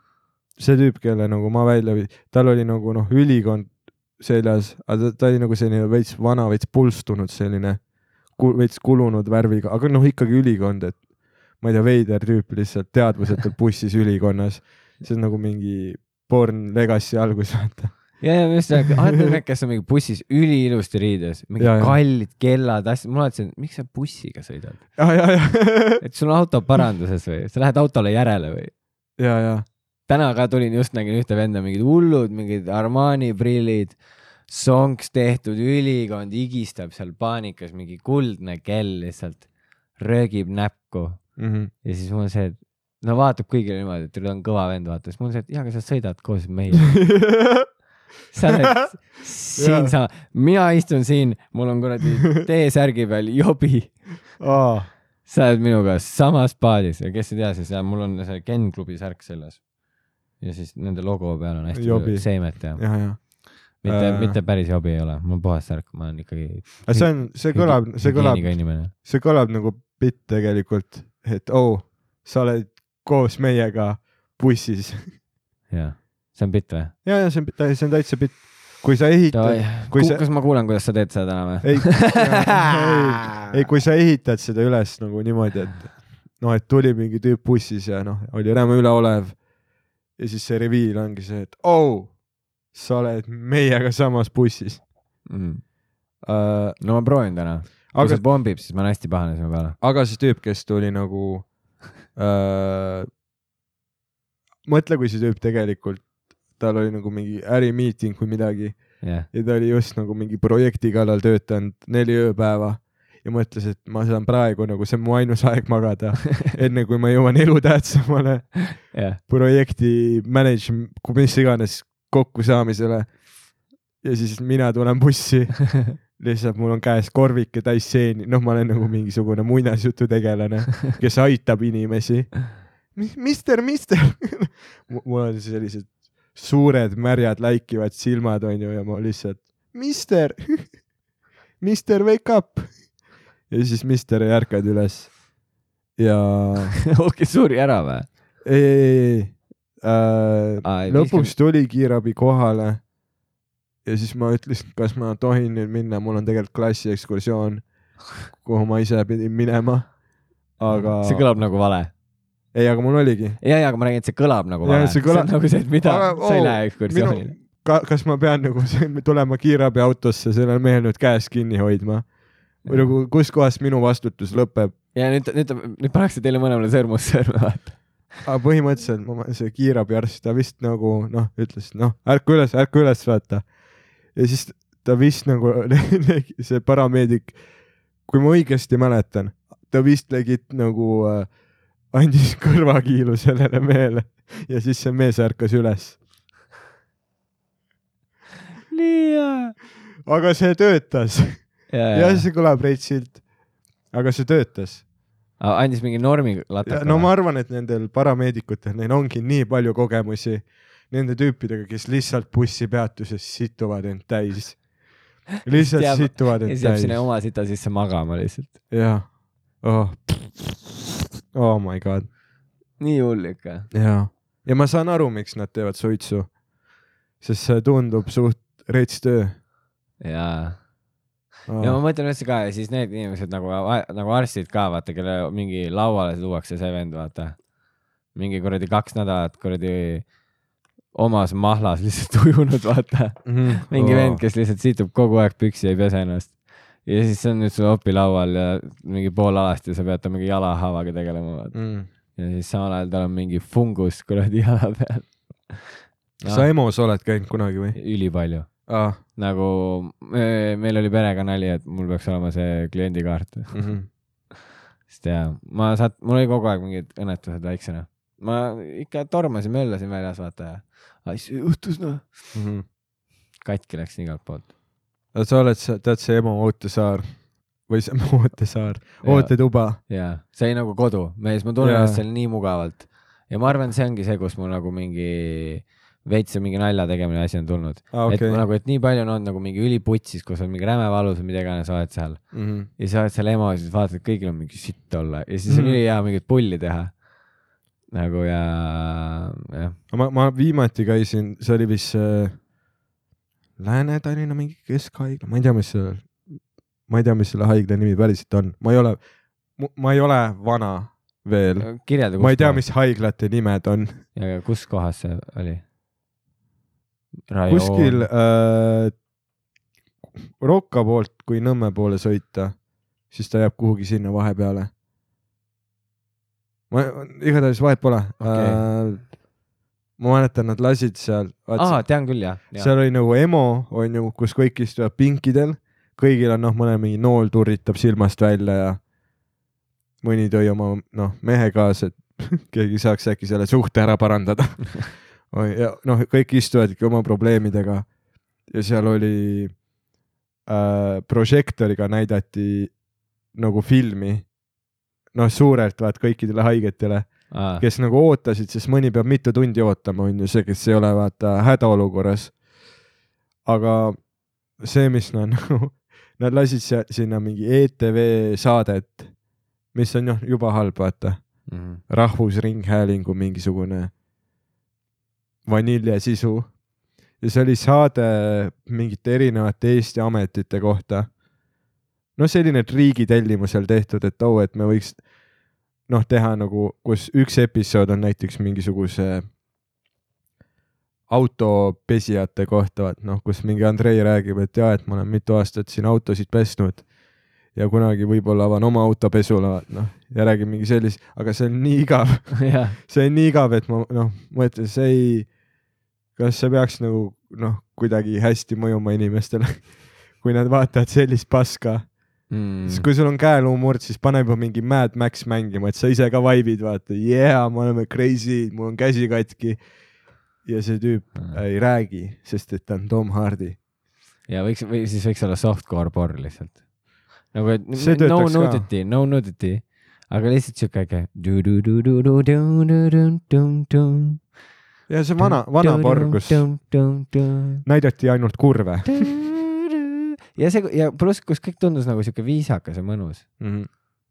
Speaker 2: see tüüp , kelle nagu ma välja viin , tal oli nagu noh , ülikond seljas , aga ta, ta oli nagu selline veits vana , veits pulstunud selline , veits kulunud värviga , aga noh , ikkagi ülikond , et ma ei tea , veider tüüp lihtsalt teadvusetult bussis ülikonnas , see on nagu mingi Born Legacy algus , vaata .
Speaker 1: ja , ja just , alati need , kes on mingi bussis üliilusti riides , mingi
Speaker 2: Jaa, jaa.
Speaker 1: kallid kellad , asjad , ma mõtlesin , miks sa bussiga sõidad ,
Speaker 2: ja , ja , ja ,
Speaker 1: et sul on auto paranduses või , sa lähed autole järele või ?
Speaker 2: ja , ja ,
Speaker 1: täna ka tulin , just nägin ühte venda , mingid hullud , mingid Armani prillid , sonks tehtud , ülikond higistab seal paanikas , mingi kuldne kell lihtsalt röögib näppu
Speaker 2: Mhm.
Speaker 1: ja siis mul on see , et no vaatab kõigile niimoodi , et ta on kõva vend , vaata , siis mul on see , et jaa , aga sa sõidad koos meiega . sa oled siin sa ,
Speaker 2: Jaa.
Speaker 1: mina istun siin , mul on kuradi T-särgi peal jobi ,
Speaker 2: aa ,
Speaker 1: sa oled minuga samas paadis ja kes ei tea , siis jah, mul on see Ken klubi särk seljas . ja siis nende logo peal on hästi
Speaker 2: Jobi.
Speaker 1: palju seemet ja
Speaker 2: ja , ja .
Speaker 1: mitte
Speaker 2: Äh. ,
Speaker 1: mitte päris jobi ei ole , mul on puhas särk , ma olen ikkagi .
Speaker 2: aga see on , see kõlab , see kõlab
Speaker 1: inimene .
Speaker 2: see kõlab nagu bitt tegelikult , et oo oh, , sa oled koos meiega bussis .
Speaker 1: jah , see on bitt või ?
Speaker 2: ja , ja see on , see on täitsa bitt . kui sa ehitad , kui sa-
Speaker 1: kas ma kuulan , kuidas sa teed seda täna või ?
Speaker 2: ei , ei , kui sa ehitad seda üles nagu niimoodi , et noh , et tuli mingi tüüp bussis ja noh , oli räme üleolev . ja siis see reviil ongi see , et oo oh, , sa oled meiega samas bussis
Speaker 1: mm. .
Speaker 2: uh, .
Speaker 1: no ma proovin täna . kui
Speaker 2: aga
Speaker 1: see pommib , siis ma olen hästi pahane sinu peale .
Speaker 2: aga see tüüp , kes tuli nagu äh, . mõtle , kui see tüüp tegelikult , tal oli nagu mingi ärimiiting või midagi
Speaker 1: jah ,
Speaker 2: ja ta oli just nagu mingi projekti kallal töötanud neli ööpäeva ja mõtles , et ma saan praegu nagu , see on mu ainus aeg magada , enne kui ma jõuan elutähtsamale
Speaker 1: jah .
Speaker 2: projekti manage , mis iganes kokkusaamisele . ja siis mina tulen bussi . lihtsalt mul on käes korvike täis seeni , noh , ma olen nagu mingisugune muinasjututegelane , kes aitab inimesi . mister , mister . mul on sellised suured märjad läikivad silmad onju ja ma lihtsalt , mister , mister wake up . ja siis mister ei ärkanud üles . ja
Speaker 1: okei , suri ära või ?
Speaker 2: ei , ei , ei , ei
Speaker 1: Aa, ei,
Speaker 2: lõpuks tuli kiirabi kohale . ja siis ma ütlesin , kas ma tohin nüüd minna , mul on tegelikult klassiekskursioon , kuhu ma ise pidin minema . aga ,
Speaker 1: see kõlab nagu vale .
Speaker 2: ei , aga mul oligi .
Speaker 1: ja , ja , aga ma räägin , et see kõlab nagu
Speaker 2: Jah,
Speaker 1: vale .
Speaker 2: see
Speaker 1: see
Speaker 2: kõla-
Speaker 1: on nagu see , et mida
Speaker 2: Aga, ,
Speaker 1: sa
Speaker 2: oo,
Speaker 1: ei lähe ekskursioonile
Speaker 2: minu- . ka, kas ma pean nagu tulema kiirabiautosse sellel mehel nüüd käes kinni hoidma või nagu kuskohast minu vastutus lõpeb ?
Speaker 1: ja nüüd , nüüd , nüüd pannakse teile mõlemale sõrmus sõrme , vaata .
Speaker 2: aga põhimõtteliselt ma , see kiirabiarst , ta vist nagu noh , ütles , noh , ärka üles , ärka üles , vaata . ja siis ta vist nagu see parameedik , kui ma õigesti mäletan , ta vist legit nagu äh, andis kõrvakiilu sellele mehele ja siis see mees ärkas üles .
Speaker 1: nii hea .
Speaker 2: aga see töötas
Speaker 1: ja ,
Speaker 2: ja
Speaker 1: ja ,
Speaker 2: see kõlab reitsilt . aga see töötas .
Speaker 1: andis mingi normi lataka .
Speaker 2: no ma arvan , et nendel parameedikutel , neil ongi nii palju kogemusi nende tüüpidega , kes lihtsalt bussipeatuses situvad end täis . lihtsalt
Speaker 1: Jääb-
Speaker 2: situvad
Speaker 1: ja
Speaker 2: end
Speaker 1: siis jääb
Speaker 2: täis
Speaker 1: sinna . oma sita sisse magama lihtsalt .
Speaker 2: jah . oh . oh my god .
Speaker 1: nii hull ikka .
Speaker 2: jaa . ja ma saan aru , miks nad teevad suitsu . sest see tundub suht rets töö . Ah.
Speaker 1: jaa . ja ma mõtlen üldse ka , siis need inimesed nagu , nagu arstid ka , vaata , kelle mingi lauale tuuakse see vend , vaata . mingi kuradi kaks nädalat kuradi omas mahlas lihtsalt ujunud , vaata .
Speaker 2: Mhm.
Speaker 1: mingi
Speaker 2: Oh.
Speaker 1: vend , kes lihtsalt situb kogu aeg püksi , ei pese ennast . ja siis see on nüüd sul opilaual ja mingi pool alast ja sa pead ta mingi jalahaavaga tegelema , vaata .
Speaker 2: mm. .
Speaker 1: ja siis samal ajal tal on mingi fungus kuradi jala peal . Ah.
Speaker 2: sa EMO-s oled käinud kunagi või ? Ah.
Speaker 1: ülipalju
Speaker 2: aa .
Speaker 1: nagu me- meil oli perega nali , et mul peaks olema see kliendikaart ,
Speaker 2: Mhm.
Speaker 1: sest ja ma saat- , mul oli kogu aeg mingid õnnetused väiksena . ma ikka tormasin , möllasin väljas , vaata ja ai see juhtus noh , katki läksin igalt poolt .
Speaker 2: aga Mhm. sa oled , tead see EMO ootesaar või see ootesaar , ootetuba .
Speaker 1: ja see oli nagu kodu , mees , ma tunnen
Speaker 2: Jaa.
Speaker 1: ennast seal nii mugavalt ja ma arvan , see ongi see , kus mul nagu mingi veits see mingi nalja tegemine asi on tulnud
Speaker 2: aa ,
Speaker 1: okay. . et
Speaker 2: okei
Speaker 1: ma . nagu , et nii palju on olnud nagu mingi üliputsis , kus on mingi räme valus või mida iganes oled seal
Speaker 2: Mhm.
Speaker 1: ja sa oled seal EMO ja siis vaatad , et kõigil on mingi sitt olla ja siis on
Speaker 2: Mhm.
Speaker 1: ülihea mingit pulli teha . nagu ja , jah ,
Speaker 2: ma , ma viimati käisin , see oli vist see Lääne-Tallinna mingi keskhaigla , ma ei tea , mis see , ma ei tea , mis selle haigla nimi päriselt on , ma ei ole , ma ei ole vana veel ,
Speaker 1: kirjelda .
Speaker 2: ma ei tea ,. mis haiglate nimed on .
Speaker 1: aga kus kohas see oli ?
Speaker 2: kuskil . äh, Rocca poolt , kui Nõmme poole sõita , siis ta jääb kuhugi sinna vahepeale . ma , igatahes vahet pole
Speaker 1: Okei.
Speaker 2: okay. . ma mäletan , nad lasid seal ,
Speaker 1: aa , tean küll jah , jah .
Speaker 2: seal oli nagu EMO , on ju , kus kõik istuvad pinkidel , kõigil on noh , mõnel mingi nool turritab silmast välja ja mõni tõi oma noh , mehe kaasa , et keegi saaks äkki selle suhte ära parandada . ja noh , kõik istuvad ikka oma probleemidega ja seal oli äh, prožektoriga näidati nagu filmi noh , suurelt vaat kõikidele haigetele kes nagu ootasid , sest mõni peab mitu tundi ootama , on ju see , kes ei ole vaata hädaolukorras . aga see , mis nad nagu , nad lasid se- sinna mingi ETV saadet , mis on jah juba halb , vaata , Rahvusringhäälingu mingisugune vaniljesisu . ja see oli saade mingite erinevate Eesti ametite kohta . no selline , et riigi tellimusel tehtud , et oo , et me võiks noh , teha nagu , kus üks episood on näiteks mingisuguse autopesijate kohta , et noh , kus mingi Andrei räägib , et jaa , et ma olen mitu aastat siin autosid pesnud ja kunagi võib-olla avan oma autopesula , noh , ja räägib mingi sellist , aga see on nii igav ,
Speaker 1: jah ,
Speaker 2: see on nii igav , et ma noh , mõtlen , see ei , kas see peaks nagu noh , kuidagi hästi mõjuma inimestele , kui nad vaatavad sellist paska
Speaker 1: Mm.
Speaker 2: siis kui sul on käeluumurd , siis pane juba mingi Mad Max mängima , et sa ise ka vaibid , vaata , yeah , me oleme crazy , mul on käsi katki . ja see tüüp ei räägi , sest et ta on Tom Hardy .
Speaker 1: ja võiks , või siis võiks olla softcore porn lihtsalt . nagu , et
Speaker 2: See
Speaker 1: no
Speaker 2: töötaks ka.
Speaker 1: nudity , no nudity , aga lihtsalt siuke äge . vana
Speaker 2: ja see vana , vana porn , kus näidati ainult kurve
Speaker 1: ja see ja pluss , kus kõik tundus nagu siuke viisakas ja mõnus
Speaker 2: mm .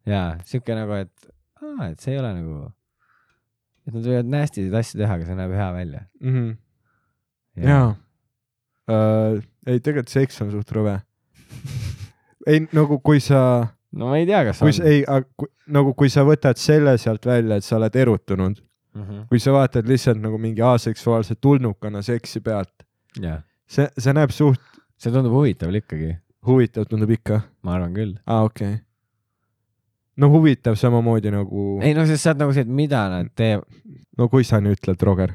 Speaker 1: ja siuke nagu , et aa , et see ei ole nagu , et nad võivad nasty sid asju teha , aga see näeb hea välja .
Speaker 2: -hmm. jaa uh, . ei , tegelikult seks on suht rõve . ei nagu , kui sa ,
Speaker 1: no ma ei tea , kas
Speaker 2: kui sa ei , nagu kui sa võtad selle sealt välja , et sa oled erutunud ,
Speaker 1: on .
Speaker 2: kui sa vaatad lihtsalt nagu mingi aseksuaalse tulnukana seksi pealt ,
Speaker 1: jaa ,
Speaker 2: see , see näeb suht
Speaker 1: see tundub huvitav ikkagi ,
Speaker 2: huvitav , tundub ikka .
Speaker 1: ma arvan küll .
Speaker 2: aa ah, , okei okay. . no huvitav samamoodi nagu ,
Speaker 1: ei no sest sa oled nagu see , et mida nad teevad ,
Speaker 2: no kui sa nüüd ütled , Roger ,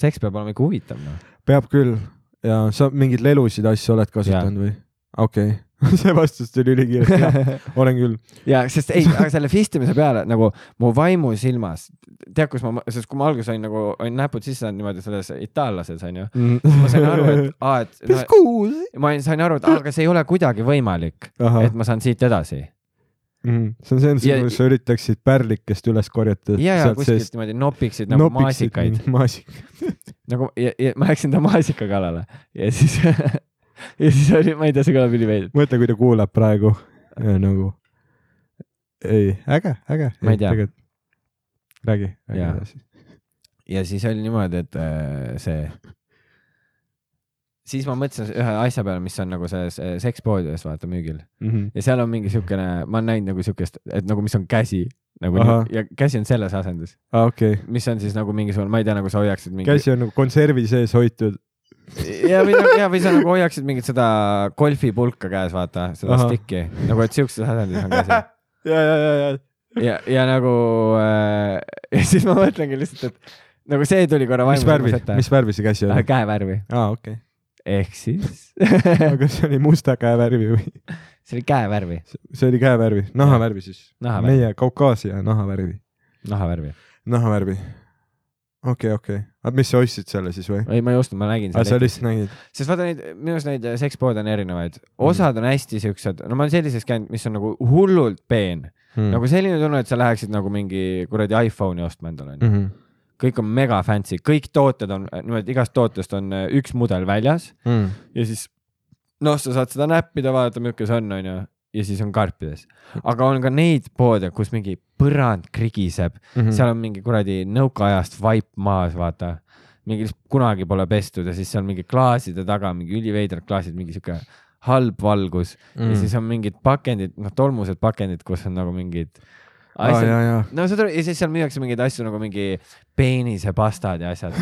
Speaker 1: seks peab olema ikka huvitav noh .
Speaker 2: peab küll ja sa mingeid lelusid asju oled kasutanud või ? okei okay. , see vastus tuli ülikiirelt , olen küll .
Speaker 1: ja sest ei , aga selle fistimise peale nagu mu vaimu silmas , tead , kus ma , sest kui ma alguses olin nagu , olin näpud sisse saanud niimoodi selles itaallases onju , ma sain aru , et aa , et no,
Speaker 2: kuus ?
Speaker 1: ma olin- sain aru , et aa, aga see ei ole kuidagi võimalik ,
Speaker 2: ahah Mm.
Speaker 1: et , ma saan siit edasi
Speaker 2: see on see ,
Speaker 1: Ja-
Speaker 2: kus sa üritaksid pärlikest üles korjata .
Speaker 1: ja , ja kuskilt niimoodi nopiksid nagu nopiksid maasikaid
Speaker 2: maasikaid .
Speaker 1: nagu ja, ja ma läksin ta maasika kallale ja siis ja siis oli , ma ei tea , see kõlab üliveidi .
Speaker 2: mõtle , kui ta kuulab praegu ja nagu . ei , äge , äge .
Speaker 1: Ma ei tea.
Speaker 2: räägi , räägi
Speaker 1: Jaa.
Speaker 2: edasi .
Speaker 1: ja siis oli niimoodi , et äh, see , siis ma mõtlesin ühe asja peale , mis on nagu selles äh, sekspoodides vaata müügil ja seal on mingi siukene , ma olen näinud nagu siukest , et nagu , mis on käsi nagu
Speaker 2: Ahah.
Speaker 1: nii- ja käsi on selles asendis ,
Speaker 2: aa , Ah, okei ,
Speaker 1: mis on siis nagu mingisugune , ma ei tea , nagu sa hoiaksid mingi .
Speaker 2: käsi on nagu konservi sees hoitud .
Speaker 1: ja või nagu , ja või sa nagu hoiaksid mingit seda golfipulka käes , vaata seda
Speaker 2: Ahah.
Speaker 1: stikki nagu , et siukses asendis on käsi
Speaker 2: ja , ja , ja , ja .
Speaker 1: ja , ja nagu äh, ja siis ma mõtlengi lihtsalt , et nagu see tuli korra
Speaker 2: mis värvi , mis värvi see käsi
Speaker 1: värvi ?
Speaker 2: oli ?
Speaker 1: käevärvi ,
Speaker 2: aa , okei .
Speaker 1: ehk siis
Speaker 2: aga see oli musta käe värvi või ?
Speaker 1: see oli käevärvi ,
Speaker 2: see oli käe värvi , naha värvi siis .
Speaker 1: nahavärvi ,
Speaker 2: meie Kaukaasia naha värvi .
Speaker 1: nahavärvi .
Speaker 2: naha värvi . okei , okei . aga mis sa ostsid selle siis või ?
Speaker 1: ei , ma ei ostnud , ma nägin
Speaker 2: aa , sa
Speaker 1: seda .
Speaker 2: lihtsalt nägid ?
Speaker 1: sest vaata neid , minu arust neid sekspoode on erinevaid ,
Speaker 2: Mhm.
Speaker 1: osad on hästi siuksed , no ma olen sellises käinud , mis on nagu hullult peen
Speaker 2: mm.
Speaker 1: nagu selline tunne , et sa läheksid nagu mingi kuradi iPhone'i ostma endale onju .
Speaker 2: mm . -hmm.
Speaker 1: kõik on mega fancy , kõik tooted on äh, niimoodi , igast tootest on äh, üks mudel väljas
Speaker 2: Mm.
Speaker 1: ja siis noh , sa saad seda näppida , vaadata , milline see on , onju , ja siis on karpides . aga on ka neid poode , kus mingi põrand krigiseb mm ,
Speaker 2: Mhm.
Speaker 1: -hmm. seal on mingi kuradi nõukaajast vaip maas , vaata . mingi lihtsalt kunagi pole pestud ja siis seal mingi klaaside taga mingi üliveidrad klaasid , mingi sihuke halb valgus mm
Speaker 2: Mhm.
Speaker 1: -hmm. ja siis on mingid pakendid , noh , tolmused pakendid , kus on nagu mingid
Speaker 2: aa ,
Speaker 1: asjad
Speaker 2: jaa , jaa .
Speaker 1: no saad aru , ja siis seal müüakse mingeid asju nagu mingi peenisepastad ja asjad .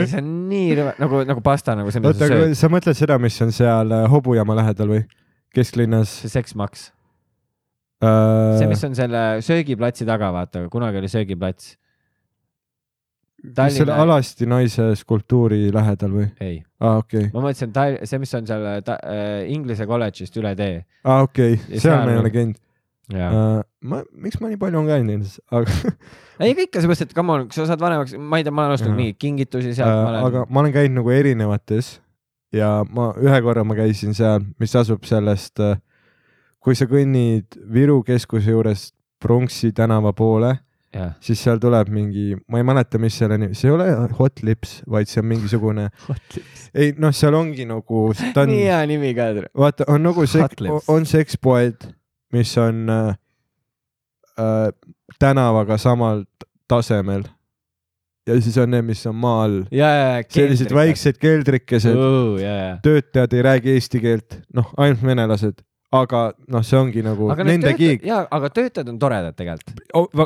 Speaker 1: ja see on nii rõve , nagu , nagu pasta nagu see , mida
Speaker 2: oota ,
Speaker 1: sa sööd ,
Speaker 2: aga sa mõtled seda , mis on seal äh, hobujaama lähedal või ? kesklinnas
Speaker 1: see seksmaks .
Speaker 2: äh,
Speaker 1: see , mis on selle söögiplatsi taga , vaata , kunagi oli söögiplats .
Speaker 2: selle
Speaker 1: Tallinna ,
Speaker 2: alasti naise skulptuuri lähedal või ?
Speaker 1: ei ,
Speaker 2: aa , okei .
Speaker 1: ma mõtlesin , see , mis on seal ta, äh, Inglise kolledžist üle tee .
Speaker 2: aa , okei ,
Speaker 1: Ja
Speaker 2: seal
Speaker 1: seal
Speaker 2: ma ei
Speaker 1: on-
Speaker 2: ole käinud . Äh.
Speaker 1: ei ,
Speaker 2: ma , miks ma nii palju olen käinud nendes , aga ,
Speaker 1: aga ikka seepärast , et come on , sa saad vanemaks , ma ei tea , ma olen ostnud
Speaker 2: Jaa. Äh,
Speaker 1: mingeid kingitusi sealt , ma
Speaker 2: aga
Speaker 1: olen ,
Speaker 2: ma olen käinud nagu erinevates ja ma ühe korra ma käisin seal , mis asub sellest , kui sa kõnnid Viru keskuse juurest Pronksi tänava poole ,
Speaker 1: jah .
Speaker 2: siis seal tuleb mingi , ma ei mäleta , mis selle nimi , see ei ole Hot Lips , vaid see on mingisugune , ei noh , seal ongi nagu , ta on
Speaker 1: nii , hea nimi ka .
Speaker 2: vaata , on nagu
Speaker 1: Hot
Speaker 2: sek-
Speaker 1: Lips. ,
Speaker 2: on sekspoed , mis on äh, äh, tänavaga samal t- tasemel . ja siis on need , mis on maa all ,
Speaker 1: ja , ja , ja .
Speaker 2: sellised . väiksed keldrikesed ,
Speaker 1: ja , ja .
Speaker 2: töötajad ei räägi eesti keelt , noh , ainult venelased , aga noh , see ongi nagu
Speaker 1: aga need
Speaker 2: nende
Speaker 1: töötajad ,
Speaker 2: kiik ,
Speaker 1: jaa , aga töötajad on toredad tegelikult .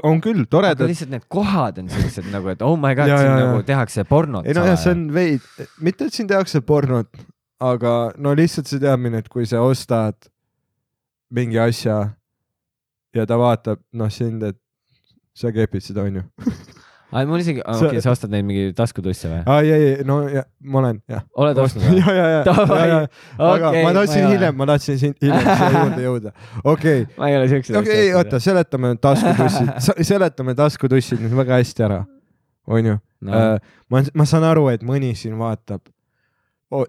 Speaker 2: on küll
Speaker 1: aga
Speaker 2: toredad ,
Speaker 1: lihtsalt need kohad on sellised nagu , et oh my god ,
Speaker 2: Jaa,
Speaker 1: siin
Speaker 2: jaa, jaa.
Speaker 1: nagu tehakse pornot .
Speaker 2: ei nojah , see on veid , mitte et siin tehakse pornot , aga no lihtsalt see teadmine , et kui sa ostad mingi asja ja ta vaatab noh sind , et sa kepid seda onju .
Speaker 1: aa , mul isegi ,
Speaker 2: See-
Speaker 1: okei okay, , sa ostad neid mingi taskutusse või ?
Speaker 2: aa ei , ei , no ja, ma olen jah .
Speaker 1: oled ostnud või ?
Speaker 2: ja , ja , ja ,
Speaker 1: Davai.
Speaker 2: ja , aga
Speaker 1: Okei,
Speaker 2: ma
Speaker 1: ma ei
Speaker 2: tahtsin
Speaker 1: ole.
Speaker 2: hiljem , ma tahtsin siin hiljem siia juurde jõuda , okei
Speaker 1: ma ei ole siukseid
Speaker 2: okei , ei oota ,. seletame nüüd taskutussid , seletame taskutussid nüüd väga hästi ära , onju Äh,
Speaker 1: No.
Speaker 2: no. . ma , ma saan aru , et mõni siin vaatab ,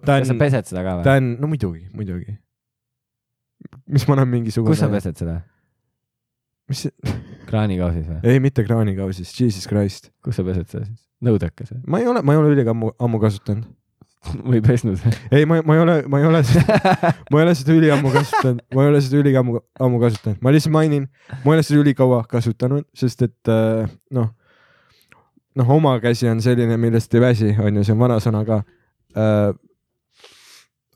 Speaker 2: ta
Speaker 1: kas sa
Speaker 2: on ,
Speaker 1: pesed seda ka või ?
Speaker 2: ta on , no muidugi , muidugi . mis ma olen mingisugune .
Speaker 1: kus sa ? pesed seda ?
Speaker 2: mis see ,
Speaker 1: kraanikausis või ?
Speaker 2: ei mitte kraanikausis , Jesus Christ .
Speaker 1: kus sa pesed seda siis ? nõudekas või ?
Speaker 2: ma ei ole , ma ei ole üliga ammu , ammu kasutanud .
Speaker 1: või pesnud või ?
Speaker 2: ei , ma , ma ei ole , ma ei ole seda , ma ei ole seda üliammu kasutanud , ma ei ole seda üliammu , ammu kasutanud , ma lihtsalt mainin , ma ei ole seda ülikaua kasutanud , sest et äh, noh , noh , oma käsi on selline , millest ei väsi , on ju , see on vanasõna ka äh, .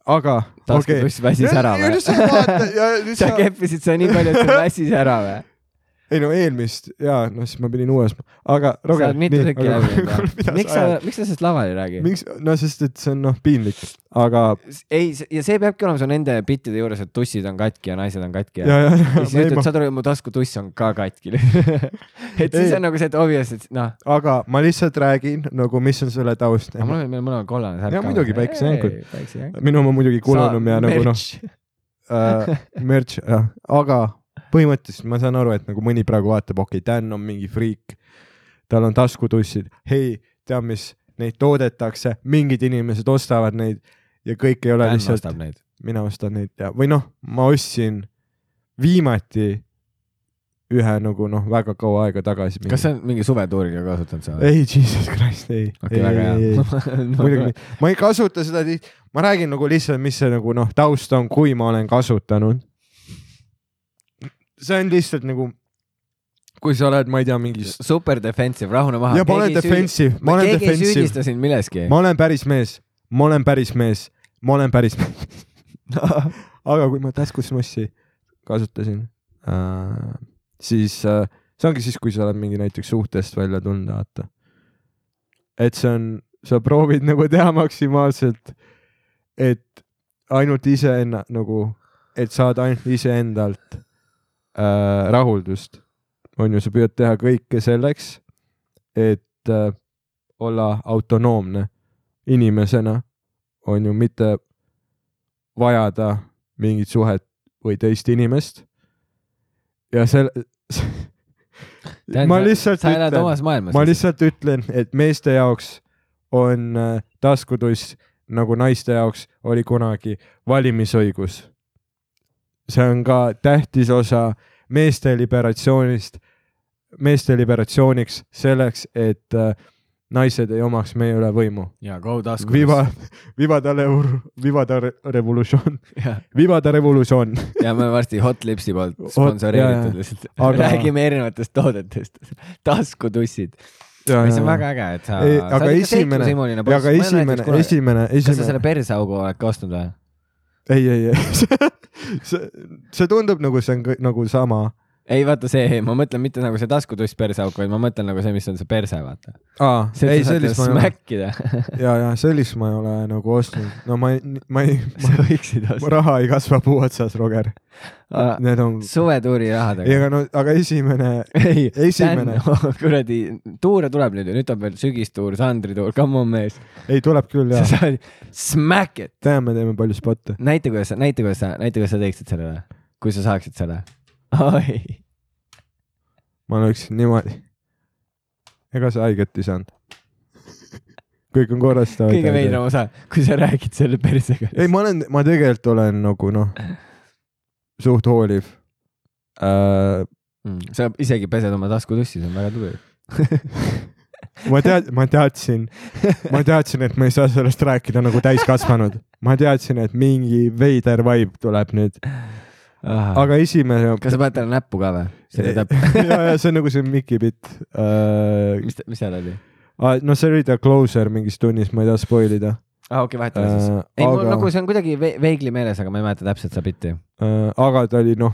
Speaker 2: aga , okei .
Speaker 1: taskutuss väsis ära
Speaker 2: ja
Speaker 1: või
Speaker 2: nüüd ? sa vaata ja nüüd
Speaker 1: sa
Speaker 2: sa ,
Speaker 1: keppisid seda nii palju , et see väsis ära või ?
Speaker 2: ei no eelmist ja noh , siis ma pidin uues , aga .
Speaker 1: sa oled mitu tükki läbi teinud . miks sa , miks sa sellest laval ei räägi ?
Speaker 2: miks , no sest , et see on noh piinlik , aga
Speaker 1: ei , ja see peabki olema su nende bittide juures , et tussid on katki ja naised on katki
Speaker 2: ja , ja ,
Speaker 1: ja siis ütled ,
Speaker 2: ja ,
Speaker 1: saad aru , mu taskutuss on ka katki . et siis
Speaker 2: Ei.
Speaker 1: on nagu see , et obvious , et noh ,
Speaker 2: aga ma lihtsalt räägin nagu , mis on selle taust .
Speaker 1: aga mul on , meil mõlemal kollane särk .
Speaker 2: Ja muidugi, päikesejänkud. .
Speaker 1: päikesejänkud .
Speaker 2: minu oma muidugi kulunum ja nagu noh äh, , merch , jah , aga põhimõtteliselt ma saan aru , et nagu mõni praegu vaatab , okei okay, , Dan on mingi friik , tal on taskutussid , hei , tead mis , neid toodetakse , mingid inimesed ostavad neid ja kõik ei ole
Speaker 1: Dan
Speaker 2: lihtsalt
Speaker 1: vastab neid .
Speaker 2: mina ostan neid ja , või noh , ma ostsin viimati ühe nagu noh , väga kaua aega tagasi .
Speaker 1: kas sa oled mingi suvetuuriga kasutanud seda ?
Speaker 2: ei , Jesus Christ , ei .
Speaker 1: okei , väga hea .
Speaker 2: muidugi mitte , ma ei kasuta seda tihti , ma räägin nagu lihtsalt , mis see nagu noh , taust on , kui ma olen kasutanud . see on lihtsalt nagu , kui sa oled , ma ei tea , mingis ,
Speaker 1: super defensive , rahune maha .
Speaker 2: ja ma olen defensive , ma olen
Speaker 1: keegi ei
Speaker 2: defensive ,
Speaker 1: süüdista sind milleski .
Speaker 2: ma olen päris mees , ma olen päris mees , ma olen päris mees . aga kui ma taskusmossi kasutasin äh, , siis äh, see ongi siis , kui sa oled mingi näiteks suhtest välja tulnud , vaata . et see on , sa proovid nagu teha maksimaalselt , et ainult iseenna- nagu , et saad ainult iseendalt äh, rahuldust . on ju , sa püüad teha kõike selleks , et äh, olla autonoomne inimesena , on ju , mitte vajada mingit suhet või teist inimest . ja selle ma lihtsalt
Speaker 1: sa elad
Speaker 2: ütlen ,
Speaker 1: omas maailmas .
Speaker 2: ma lihtsalt ütlen , et meeste jaoks on äh, taskutuss nagu naiste jaoks oli kunagi valimisõigus . see on ka tähtis osa meeste liberatsioonist , meeste liberatsiooniks selleks , et äh, naised ei omaks meie üle võimu .
Speaker 1: ja go taskus .
Speaker 2: Viva , Viva ta revol- , Viva ta re- revolutsioon ,
Speaker 1: ja,
Speaker 2: Viva ta revolutsioon .
Speaker 1: ja me varsti Hot Lipsi poolt sponsoreeritud
Speaker 2: jaa.
Speaker 1: lihtsalt
Speaker 2: Aga-
Speaker 1: aga... . räägime erinevatest toodetest . taskutussid . see on väga äge , et sa .
Speaker 2: Ei, aga esimene , aga esimene , esimene ,
Speaker 1: kas sa selle
Speaker 2: esimene ,
Speaker 1: perseaugu oled ka ostnud või ?
Speaker 2: ei , ei , ei , see , see tundub nagu see on kõ- nagu sama ,
Speaker 1: ei , vaata see , ma mõtlen mitte nagu see taskutuss perseauk , vaid ma mõtlen nagu see , mis on see perse , vaata .
Speaker 2: aa ,
Speaker 1: see , et
Speaker 2: ei
Speaker 1: sa saad
Speaker 2: sellist ma ei ole ,
Speaker 1: smäkkida .
Speaker 2: ja , ja sellist ma ei ole nagu ostnud , no ma ei , ma ei ,
Speaker 1: sa võiksid
Speaker 2: mu
Speaker 1: osta .
Speaker 2: raha ei kasva puu otsas , Roger , need on ,
Speaker 1: suvetuuri
Speaker 2: ei ,
Speaker 1: rahadega .
Speaker 2: aga no , aga esimene ,
Speaker 1: ei ,
Speaker 2: esimene.
Speaker 1: kuradi , tuure tuleb nüüd ju , nüüd tuleb veel sügistuur , Sandrituur , come on mees .
Speaker 2: ei tuleb küll
Speaker 1: sa
Speaker 2: ja ,
Speaker 1: saad smack it .
Speaker 2: täna me teeme palju spotte ,
Speaker 1: näita , kuidas sa , näita , kuidas sa , näita , kuidas sa teeksid selle või ? kui sa saaksid selle . oi ,
Speaker 2: ma oleks niimoodi . ega sa haiget ei saanud . kõik on korras .
Speaker 1: kõige veidram osa , kui sa räägid selle persega .
Speaker 2: ei , ma olen , ma tegelikult olen nagu noh , suht hooliv äh, .
Speaker 1: Mm. sa isegi pesed oma taskutussi , see on väga tubli .
Speaker 2: ma tead- , ma teadsin , ma teadsin , et ma ei saa sellest rääkida nagu täiskasvanud . ma teadsin , et mingi veider vibe tuleb nüüd ,
Speaker 1: aga
Speaker 2: aga esimene .
Speaker 1: kas sa paned talle näppu ka või ? see
Speaker 2: ja
Speaker 1: täp- ,,
Speaker 2: ja see on nagu see Mickey bitt äh, .
Speaker 1: mis , mis seal oli ?
Speaker 2: no see oli ta closer mingis tunnis , ma ei taha spoil ida
Speaker 1: aa , Ah, okei , vahetame siis .
Speaker 2: äh, .
Speaker 1: ei , mul
Speaker 2: aga
Speaker 1: nagu , see on kuidagi ve- veigli meeles , aga ma ei mäleta täpselt seda bitti .
Speaker 2: äh, aga ta oli noh ,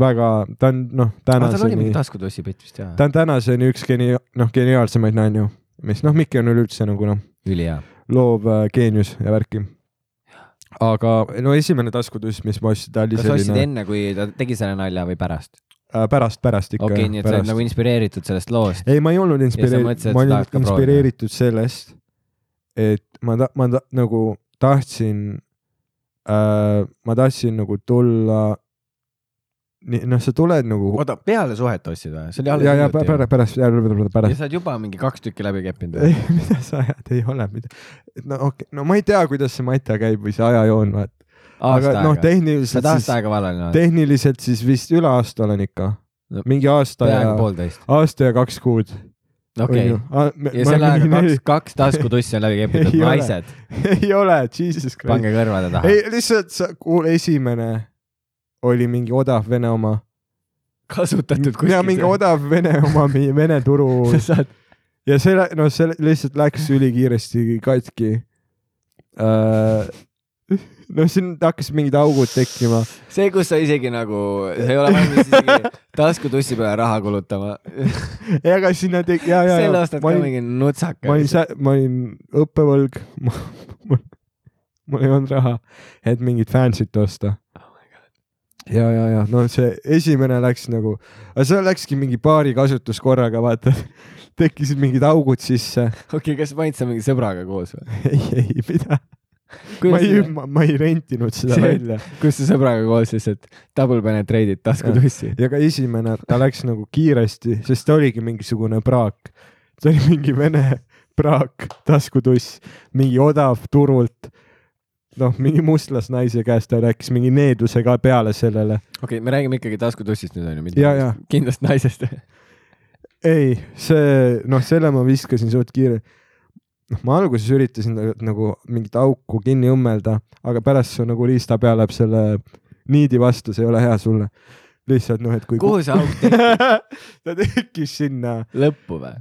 Speaker 2: väga , ta on noh ,
Speaker 1: aga tal oli
Speaker 2: tänaseni
Speaker 1: mingi taskutussi bitt vist jah
Speaker 2: ta ? on tänaseni üks geni- , noh , geniaalsemaid nainju , mis noh , Mikki on üleüldse nagu noh ,
Speaker 1: ülihea .
Speaker 2: loov äh, geenius ja värki . aga no esimene taskutuss , mis ma ostsin , ta oli
Speaker 1: kas sa ostsid
Speaker 2: selline
Speaker 1: enne , kui ta tegi selle nalja või pärast ?
Speaker 2: äh, pärast , pärast ikka
Speaker 1: okei , nii et sa oled
Speaker 2: pärast.
Speaker 1: nagu inspireeritud sellest loost .
Speaker 2: ei , ma ei olnud
Speaker 1: Ja sa
Speaker 2: inspireeritud
Speaker 1: mõtlesid, , et
Speaker 2: ma
Speaker 1: sa
Speaker 2: olin
Speaker 1: tahad ka proovida.
Speaker 2: inspireeritud sellest , et ma ta- , ma ta- nagu tahtsin äh, , ma tahtsin nagu tulla nii noh , sa tuled nagu .
Speaker 1: oota , peale suhet ostsid või ? see oli
Speaker 2: ja , ja
Speaker 1: alles
Speaker 2: pärast , pärast , pärast ,
Speaker 1: ja
Speaker 2: pärast .
Speaker 1: sa oled juba mingi kaks tükki läbi keppinud
Speaker 2: ei
Speaker 1: või ?,
Speaker 2: mida sa ajad , ei ole midagi . no okei okay. , no ma ei tea , kuidas see Matja käib või see ajajoon , vaat .
Speaker 1: aasta
Speaker 2: aga noh ,
Speaker 1: aega . sa
Speaker 2: tehniliselt
Speaker 1: oled aasta
Speaker 2: siis ,
Speaker 1: aega vallaline olnud ?
Speaker 2: Äh. tehniliselt siis vist üle aasta olen ikka
Speaker 1: No, .
Speaker 2: mingi aasta ja
Speaker 1: peaaegu , poolteist .
Speaker 2: aasta ja kaks kuud . Ah,
Speaker 1: okei . ja selle ajaga kaks , kaks taskutussi on läbi
Speaker 2: Ei
Speaker 1: kepitud ,
Speaker 2: ole.
Speaker 1: naised ,
Speaker 2: ei ole , jesus christ .
Speaker 1: pange kõrvade taha
Speaker 2: ei , lihtsalt sa , kuule , esimene oli mingi odav vene oma .
Speaker 1: kasutatud
Speaker 2: ja mingi
Speaker 1: kuskilt .
Speaker 2: odav vene oma , mingi vene turu
Speaker 1: sa saad ,
Speaker 2: ja see , no see lihtsalt läks ülikiiresti katki uh, . no siin hakkasid mingid augud tekkima .
Speaker 1: see , kus sa isegi nagu , sa ei ole valmis isegi taskutussi peale raha kulutama .
Speaker 2: ei , aga sinna tegi , ja , ja ,
Speaker 1: sel
Speaker 2: ja
Speaker 1: aastal
Speaker 2: ma
Speaker 1: ka
Speaker 2: olin ,
Speaker 1: mingi
Speaker 2: ma olin
Speaker 1: nutsakas .,
Speaker 2: ma olin õppevõlg , mul ei olnud raha , et mingit fancy't osta .
Speaker 1: Oh
Speaker 2: ja , ja , ja no see esimene läks nagu , aga see läkski mingi paari kasutuskorraga , vaata tekkisid mingid augud sisse .
Speaker 1: okei , kas panid sa mingi sõbraga koos või ?
Speaker 2: ei , ei , mida , ma ei ,
Speaker 1: kuidas ,
Speaker 2: ma ei rentinud seda
Speaker 1: See-
Speaker 2: välja .
Speaker 1: kus sa sõbraga koos lihtsalt double penetrate'id taskutussi ?
Speaker 2: ja ka esimene , ta läks nagu kiiresti , sest ta oligi mingisugune praak . see oli mingi vene praak , taskutuss , mingi odav turult . noh , mingi mustlasnaise käest ta rääkis mingi needuse ka peale sellele .
Speaker 1: okei okay, , me räägime ikkagi taskutussist nüüd onju , mitte
Speaker 2: ja , ja
Speaker 1: kindlast naisest .
Speaker 2: ei , see , noh , selle ma viskasin suht kiire . noh , ma alguses üritasin nagu- nagu mingit auku kinni õmmelda , aga pärast see nagu riista peal läheb selle niidi vastu , see ei ole hea sulle . lihtsalt noh , et kui .
Speaker 1: kuhu see auk tekkis ?
Speaker 2: ta tekkis sinna
Speaker 1: lõppu või ?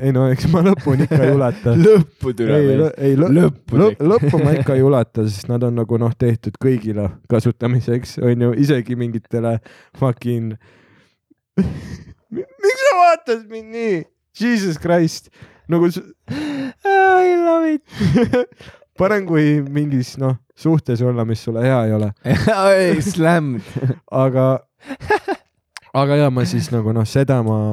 Speaker 2: ei no eks ma lõpuni ikka ei ulata .
Speaker 1: lõppu
Speaker 2: ei ,
Speaker 1: tule .
Speaker 2: ei lõ,
Speaker 1: Lõppu
Speaker 2: lõ,
Speaker 1: tehti.
Speaker 2: lõppu ma ikka ei ulata , sest nad on nagu noh , tehtud kõigile kasutamiseks , onju , isegi mingitele fucking . miks sa vaatad mind nii ? Jesus Christ , nagu s-
Speaker 1: I love it .
Speaker 2: parem kui mingis noh , suhtes olla , mis sulle hea ei ole ,
Speaker 1: oi , slammed .
Speaker 2: aga , aga ja ma siis nagu noh , seda ma ,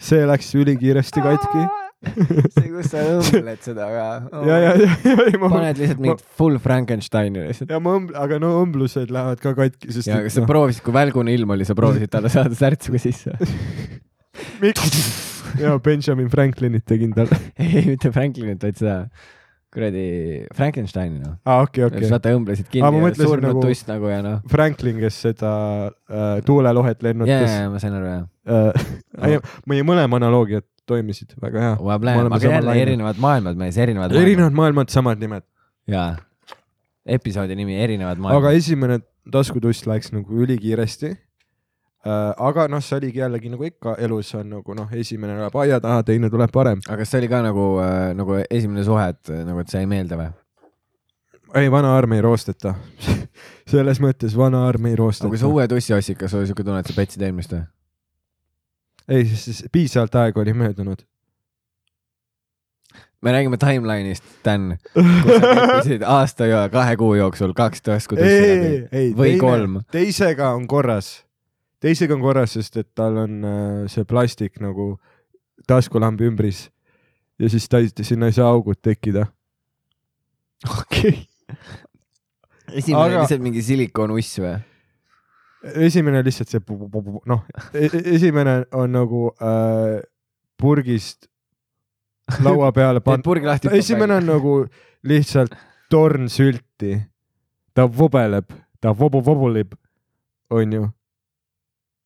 Speaker 2: see läks ülikiiresti katki .
Speaker 1: see , kus sa õmbled seda ka
Speaker 2: ja , ja , ja , ja , ja ma
Speaker 1: paned lihtsalt mingit full Frankensteini lihtsalt .
Speaker 2: ja ma õmb- , aga no õmblused lähevad ka katki , sest noh,
Speaker 1: ja kas sa proovisid , kui välgune ilm oli , sa proovisid talle saada särtsuga sisse ?
Speaker 2: miks ? ja Benjamin Franklinit tegin talle .
Speaker 1: ei , mitte Franklinit , vaid seda kuradi Frankensteini noh .
Speaker 2: aa , Ah, okei ,
Speaker 1: Okay.
Speaker 2: okei .
Speaker 1: saate õmblesid
Speaker 2: Aa, ma
Speaker 1: kinni ja
Speaker 2: mõtlesin
Speaker 1: surnud
Speaker 2: nagu-
Speaker 1: nagu... tuss nagu ja noh .
Speaker 2: Franklin , kes seda äh, tuulelohet
Speaker 1: ja ,
Speaker 2: lennutas
Speaker 1: ja , ma sain aru jah .
Speaker 2: yeah. äh, . meie mõlema analoogiad toimisid väga hea .
Speaker 1: ma plaan ,
Speaker 2: oleme
Speaker 1: aga
Speaker 2: samal
Speaker 1: jälle
Speaker 2: lainel.
Speaker 1: erinevad maailmad mees , erinevad .
Speaker 2: erinevad maailmad , samad nimed ,
Speaker 1: jaa . episoodi nimi Erinevad
Speaker 2: aga
Speaker 1: maailmad .
Speaker 2: esimene taskutuss läks nagu ülikiiresti äh, . aga noh , see oligi jällegi nagu ikka elus on nagu noh , esimene läheb aia taha , teine tuleb parem .
Speaker 1: aga kas see oli ka nagu , nagu esimene suhe , et äh, nagu , et see ei meeldi või ?
Speaker 2: ei , vana arm ei roosteta . selles mõttes vana arm ei
Speaker 1: aga kui sa
Speaker 2: roosteta .
Speaker 1: nagu uue tussi ostsid , kas sul oli siuke tunne , et sa petsid eelmist või ?
Speaker 2: ei , sest piisavalt aega oli möödunud .
Speaker 1: me räägime timeline'ist , Dan , kus sa keppisid aasta ja kahe kuu jooksul kaks taskutussi läbi
Speaker 2: ei , ei ,
Speaker 1: või
Speaker 2: teine-
Speaker 1: kolm.
Speaker 2: teisega on korras , teisega on korras , sest et tal on äh, see plastik nagu taskulambi ümbris ja siis ta ei , sinna ei saa augud tekkida .
Speaker 1: okei . esimene
Speaker 2: Aga-
Speaker 1: aga... lihtsalt mingi silikoonuss või ?
Speaker 2: esimene lihtsalt see pu- pu- pu- pu- noh e , esimene on nagu äh, purgist laua peale
Speaker 1: teed
Speaker 2: pandud ,
Speaker 1: purgi lahti .
Speaker 2: esimene on . nagu lihtsalt torn sülti , ta vobeleb , ta vobu-vobuleb , onju .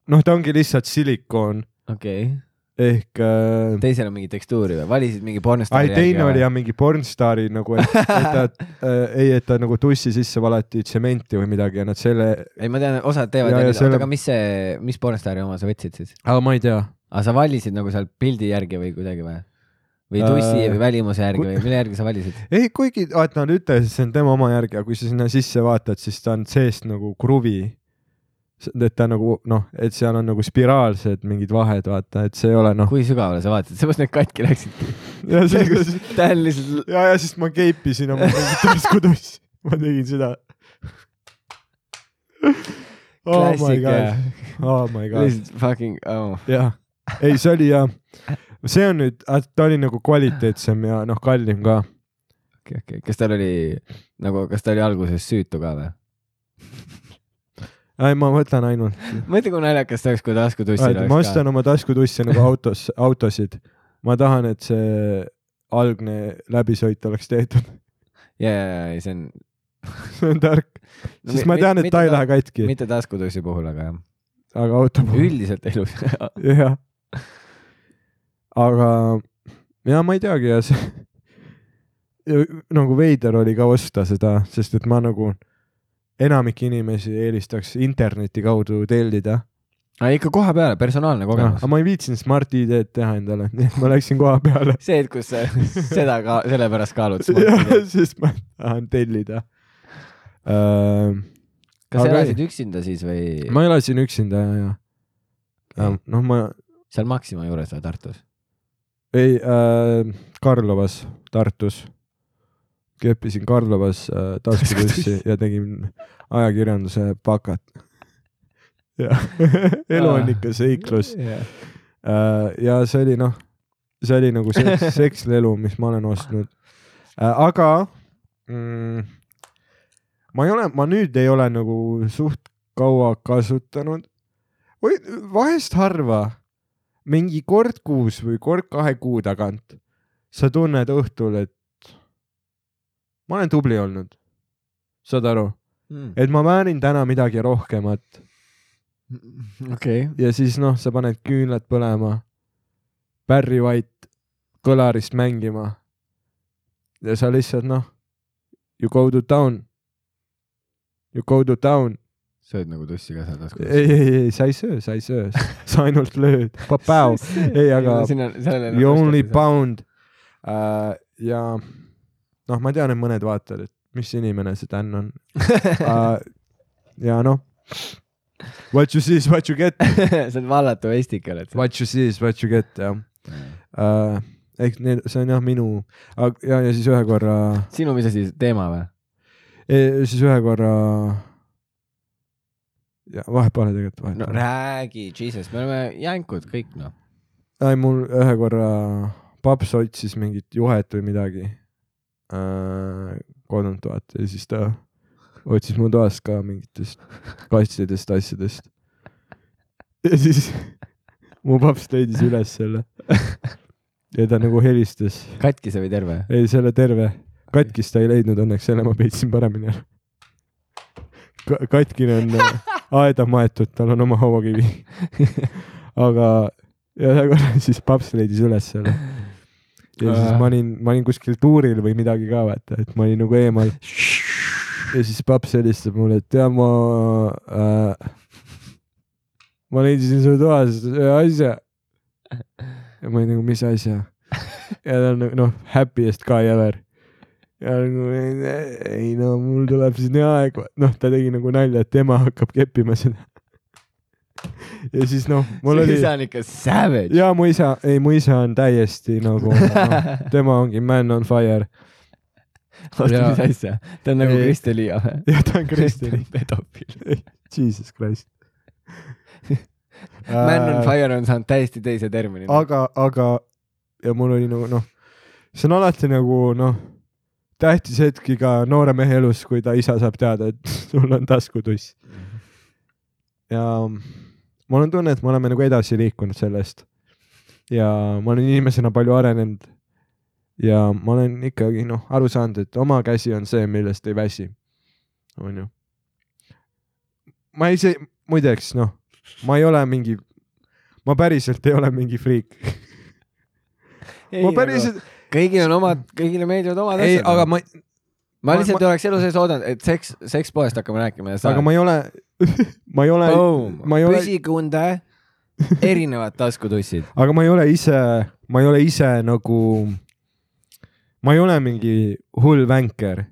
Speaker 2: noh , ta ongi lihtsalt silikoon
Speaker 1: okei okay. ,
Speaker 2: ehk äh,
Speaker 1: teisel on mingi tekstuuri või ? valisid mingi
Speaker 2: ai
Speaker 1: pornostaari
Speaker 2: teine oli jah mingi pornstaari nagu , et , et ta äh, ei , et ta nagu tussi sisse valati tsementi või midagi ja nad selle ,
Speaker 1: ei , ma tean , osad teevad
Speaker 2: Ja- ja
Speaker 1: ja, ,
Speaker 2: selle-
Speaker 1: selle... aga mis see , mis pornostaari oma sa võtsid siis ?
Speaker 2: aga ma ei tea .
Speaker 1: aga sa valisid nagu seal pildi järgi või kuidagi või ? või tussi
Speaker 2: Äh,
Speaker 1: või välimuse järgi
Speaker 2: ku-
Speaker 1: või mille järgi sa valisid ?
Speaker 2: ei , kuigi vaata nad ütlesid , see on tema oma järgi , aga kui sa sinna sisse vaatad , siis ta on seest nagu kruvi . et ta nagu noh , et seal on nagu spiraalsed mingid vahed , vaata , et see ei ole noh .
Speaker 1: kui sügavale sa vaatasid , seepärast need katki läksid .
Speaker 2: ja siis ,
Speaker 1: tähel lihtsalt ,
Speaker 2: ja , ja siis ma keipisin oma mingit taskutussi , ma tegin seda . Oh my
Speaker 1: Klassika.
Speaker 2: god , oh my god .
Speaker 1: lihtsalt fucking oh. .
Speaker 2: jah , ei , see oli jah , see on nüüd , ta oli nagu kvaliteetsem ja noh , kallim ka .
Speaker 1: okei , okei , kas tal oli nagu , kas ta oli alguses süütu ka või ?
Speaker 2: ei , ma mõtlen ainult .
Speaker 1: mõtle , kui naljakas see oleks , kui taskutussi
Speaker 2: Et ma ostan . oma taskutussi nagu autos , autosid . ma tahan , et see algne läbisõit oleks tehtud ,
Speaker 1: ja , ja , ja see on .
Speaker 2: see on tark . siis ma tean , et ta ei lähe katki ,
Speaker 1: mitte taskutussi puhul , aga jah ,
Speaker 2: aga auto puhul ,
Speaker 1: üldiselt elus .
Speaker 2: jah . aga , ja ma ei teagi ja see nagu veider oli ka osta seda , sest et ma nagu enamik inimesi eelistaks interneti kaudu tellida .
Speaker 1: aga ikka koha peale , personaalne kogemus
Speaker 2: aga . ma ei viitsinud Smart ID-d teha endale , nii et ma läksin koha peale .
Speaker 1: see hetk , kus sa seda ka , sellepärast kaalud .
Speaker 2: jah ,
Speaker 1: kas
Speaker 2: sest ma tahan tellida .
Speaker 1: sa
Speaker 2: Aga
Speaker 1: elasid üksinda siis või ma...
Speaker 2: ma elasin üksinda ja , ja
Speaker 1: Okei.
Speaker 2: noh , ma
Speaker 1: seal Maxima juures või Tartus ?
Speaker 2: ei äh, , Karlovas , Tartus . keppisin Karlovas äh, taskutussi ja tegin ajakirjanduse bakat . jah , elu on ikka seiklus . Äh, ja see oli noh , see oli nagu seks , sekslelu , mis ma olen ostnud . aga mm, ma ei ole , ma nüüd ei ole nagu suht kaua kasutanud või vahest harva , mingi kord kuus või kord kahe kuu tagant sa tunned õhtul , et ma olen tubli olnud . saad aru ,
Speaker 1: Hmm.
Speaker 2: et ma väärin täna midagi rohkemat
Speaker 1: okei .
Speaker 2: ja siis noh , sa paned küünlad põlema , Barry White kõlarist mängima . ja sa lihtsalt noh , you go to town . You go to town .
Speaker 1: sööd nagu tussi ka seal taskus ?
Speaker 2: ei , ei , ei , sa ei söö , sa ei söö , sa ainult lööd , papäu , ei aga
Speaker 1: nagu
Speaker 2: you only . pound uh, . ja noh , ma tean , et mõned vaatavad , et mis inimene see Dan on uh, . ja noh , what you see is what you get ,
Speaker 1: sa oled vallatu vestik oled .
Speaker 2: what you see is what you get jah äh, . ehk need , see on jah minu , ja , ja siis ühe korra ,
Speaker 1: sinu , mis asi , teema või ?
Speaker 2: siis ühe korra . ja vahet pole tegelikult vahet
Speaker 1: no
Speaker 2: pole.
Speaker 1: räägi , Jesus , me oleme jänkud kõik noh .
Speaker 2: ei , mul ühe korra paps otsis mingit juhet või midagi äh, kodunt vaata ja siis ta otsis mu toast ka mingitest kastidest , asjadest . ja siis mu paps leidis üles selle ja ta nagu helistas ,
Speaker 1: katkise või terve ?
Speaker 2: ei selle terve , katkist ta ei leidnud õnneks , selle ma peitsin paremini ära Ka . katkine on äh, aeda maetud , tal on oma hauakivi . aga ja ühe korra siis paps leidis üles selle . ja siis ma olin , ma olin kuskil tuuril või midagi ka vaata , et ma olin nagu eemal . ja siis paps helistab mulle , et tea ma äh, , ma leidisin su toas ühe asja . ja ma olin nagu , mis asja ? ja ta on nagu noh , happiest guy ever . ja nagu ei- ei no mul tuleb siin hea aeg , noh , ta tegi nagu nalja , et ema hakkab keppima seda . ja siis noh , mul oli .
Speaker 1: isa on ikka savage .
Speaker 2: ja mu isa , ei mu isa on täiesti nagu noh, tema ongi man on fire
Speaker 1: oota ,
Speaker 2: ja-
Speaker 1: mis asja ? ta on nagu
Speaker 2: Ei.
Speaker 1: Kristi Liia või ?
Speaker 2: ja ta on kristlane .
Speaker 1: pedofiil .
Speaker 2: Jesus Christ
Speaker 1: Man on . fire on saanud täiesti teise termini .
Speaker 2: Äh. aga , aga ja mul oli nagu noh , see on alati nagu noh , tähtis hetk iga noore mehe elus , kui ta isa saab teada , et sul on taskutuss . ja mul on tunne , et me oleme nagu edasi liikunud sellest . ja ma olen inimesena palju arenenud . ja ma olen ikkagi noh , aru saanud , et oma käsi on see , millest ei väsi . onju . ma ise , muideks noh , ma ei ole mingi , ma päriselt ei ole mingi friik . ma päriselt ,
Speaker 1: kõigil on omad , kõigile meeldivad omad
Speaker 2: ei ,
Speaker 1: asjad . noh.
Speaker 2: aga ma ,
Speaker 1: ma
Speaker 2: ma-
Speaker 1: lihtsalt
Speaker 2: ma-
Speaker 1: oleks elu sees oodanud , et seks , sekspoest hakkame rääkima ja sa .
Speaker 2: aga ma ei ole , ma ei ole ,
Speaker 1: Oh.
Speaker 2: ma ei ole ,
Speaker 1: püsikunde , erinevad taskutussid .
Speaker 2: aga ma ei ole ise , ma ei ole ise nagu , ma ei ole mingi hull vänker .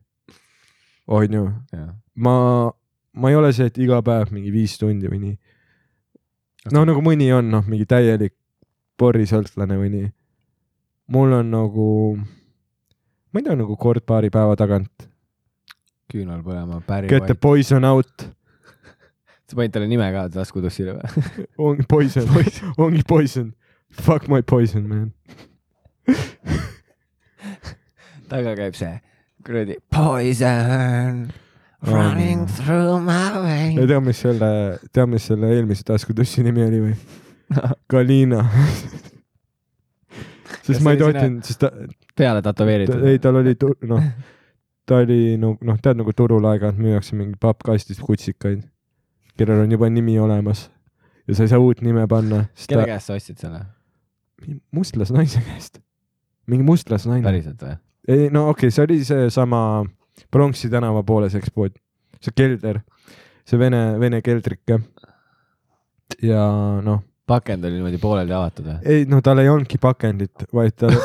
Speaker 2: onju , ma , ma ei ole see , et iga päev mingi viis tundi või nii . no nagu mõni on noh , mingi täielik porisõltlane või nii . mul on nagu , ma ei tea , nagu kord-paari päeva tagant ,
Speaker 1: küünal põlema , Barry
Speaker 2: get the
Speaker 1: White .
Speaker 2: poison out ,
Speaker 1: sa panid talle nime ka taskutussile või ?
Speaker 2: ongi poison , ongi poison , fuck my poison man .
Speaker 1: taga käib see kuradi poison . Running through my
Speaker 2: ei
Speaker 1: veins .
Speaker 2: tea , mis selle , tea , mis selle eelmise taskutussi nimi oli või ? Galina .
Speaker 1: Kas
Speaker 2: sest ma ei
Speaker 1: see oli sina-
Speaker 2: tohtinud , sest ta ,
Speaker 1: peale
Speaker 2: ta ,
Speaker 1: tätoveeritud .
Speaker 2: ei , tal oli , noh , ta oli no, , noh , tead nagu turul aeg-ajalt müüakse mingi pappkastis kutsikaid , kellel on juba nimi olemas ja sa ei saa uut nime panna , sest
Speaker 1: kelle
Speaker 2: ta ,
Speaker 1: käest sa ostsid selle ?
Speaker 2: mustlasnaise käest . mingi mustlasnaine .
Speaker 1: päriselt või ?
Speaker 2: ei no okei okay, , see oli seesama Pronksi tänava pooles ekspood , see kelder , see vene , vene keldrike . ja noh ,
Speaker 1: pakend oli niimoodi pooleldi avatud või ?
Speaker 2: ei no tal ei olnudki pakendit , vaid tal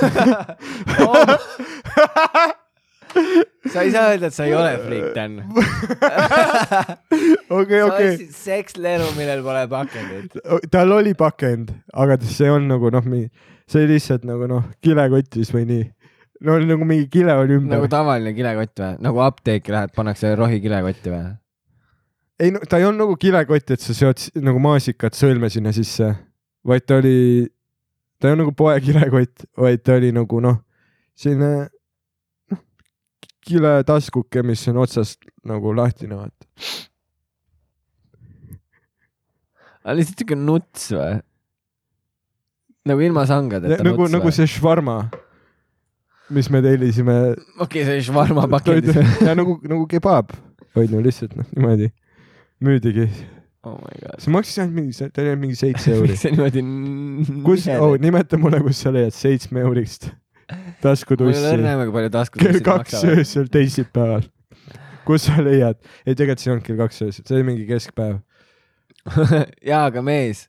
Speaker 2: Oh.
Speaker 1: sa ei saa öelda , et sa ei ole friik , Dan .
Speaker 2: okei , okei ,
Speaker 1: seksleru , millel pole pakendit .
Speaker 2: tal oli pakend , aga see on nagu noh , see oli lihtsalt nagu noh , kilekotis või nii . no oli nagu mingi kile oli ümber
Speaker 1: nagu . tavaline kilekott või ? nagu apteeki lähed , pannakse rohi kilekotti või ?
Speaker 2: ei no ta ei olnud nagu kilekott , et sa seod s- nagu maasikat sõlme sinna sisse , vaid ta oli , ta ei olnud nagu poekilekott , vaid ta oli nagu noh , selline noh, kiletaskuke , mis on otsast nagu lahtine , vaata .
Speaker 1: aga lihtsalt siuke nuts või ? nagu ilma sangadeta
Speaker 2: nagu ,
Speaker 1: nuts
Speaker 2: nagu
Speaker 1: või ?
Speaker 2: see švarma , mis me tellisime .
Speaker 1: okei , see švarma pakendis .
Speaker 2: ja nagu , nagu kebaab , onju , lihtsalt noh , niimoodi müüdigi .
Speaker 1: oh my god .
Speaker 2: see maksis ainult mingi , see oli ainult mingi seitse euri
Speaker 1: miks . see niimoodi
Speaker 2: kus , oh, ? nimeta mulle , kus sa leiad seitsme eurist
Speaker 1: mul ei ole
Speaker 2: taskutussi
Speaker 1: õrna aimu , kui palju taskud
Speaker 2: kell kaks . öösel teisipäeval . kus sa leiad ? ei , tegelikult see ei olnud kell kaks öösel , see oli mingi keskpäev .
Speaker 1: jaa , aga mees ,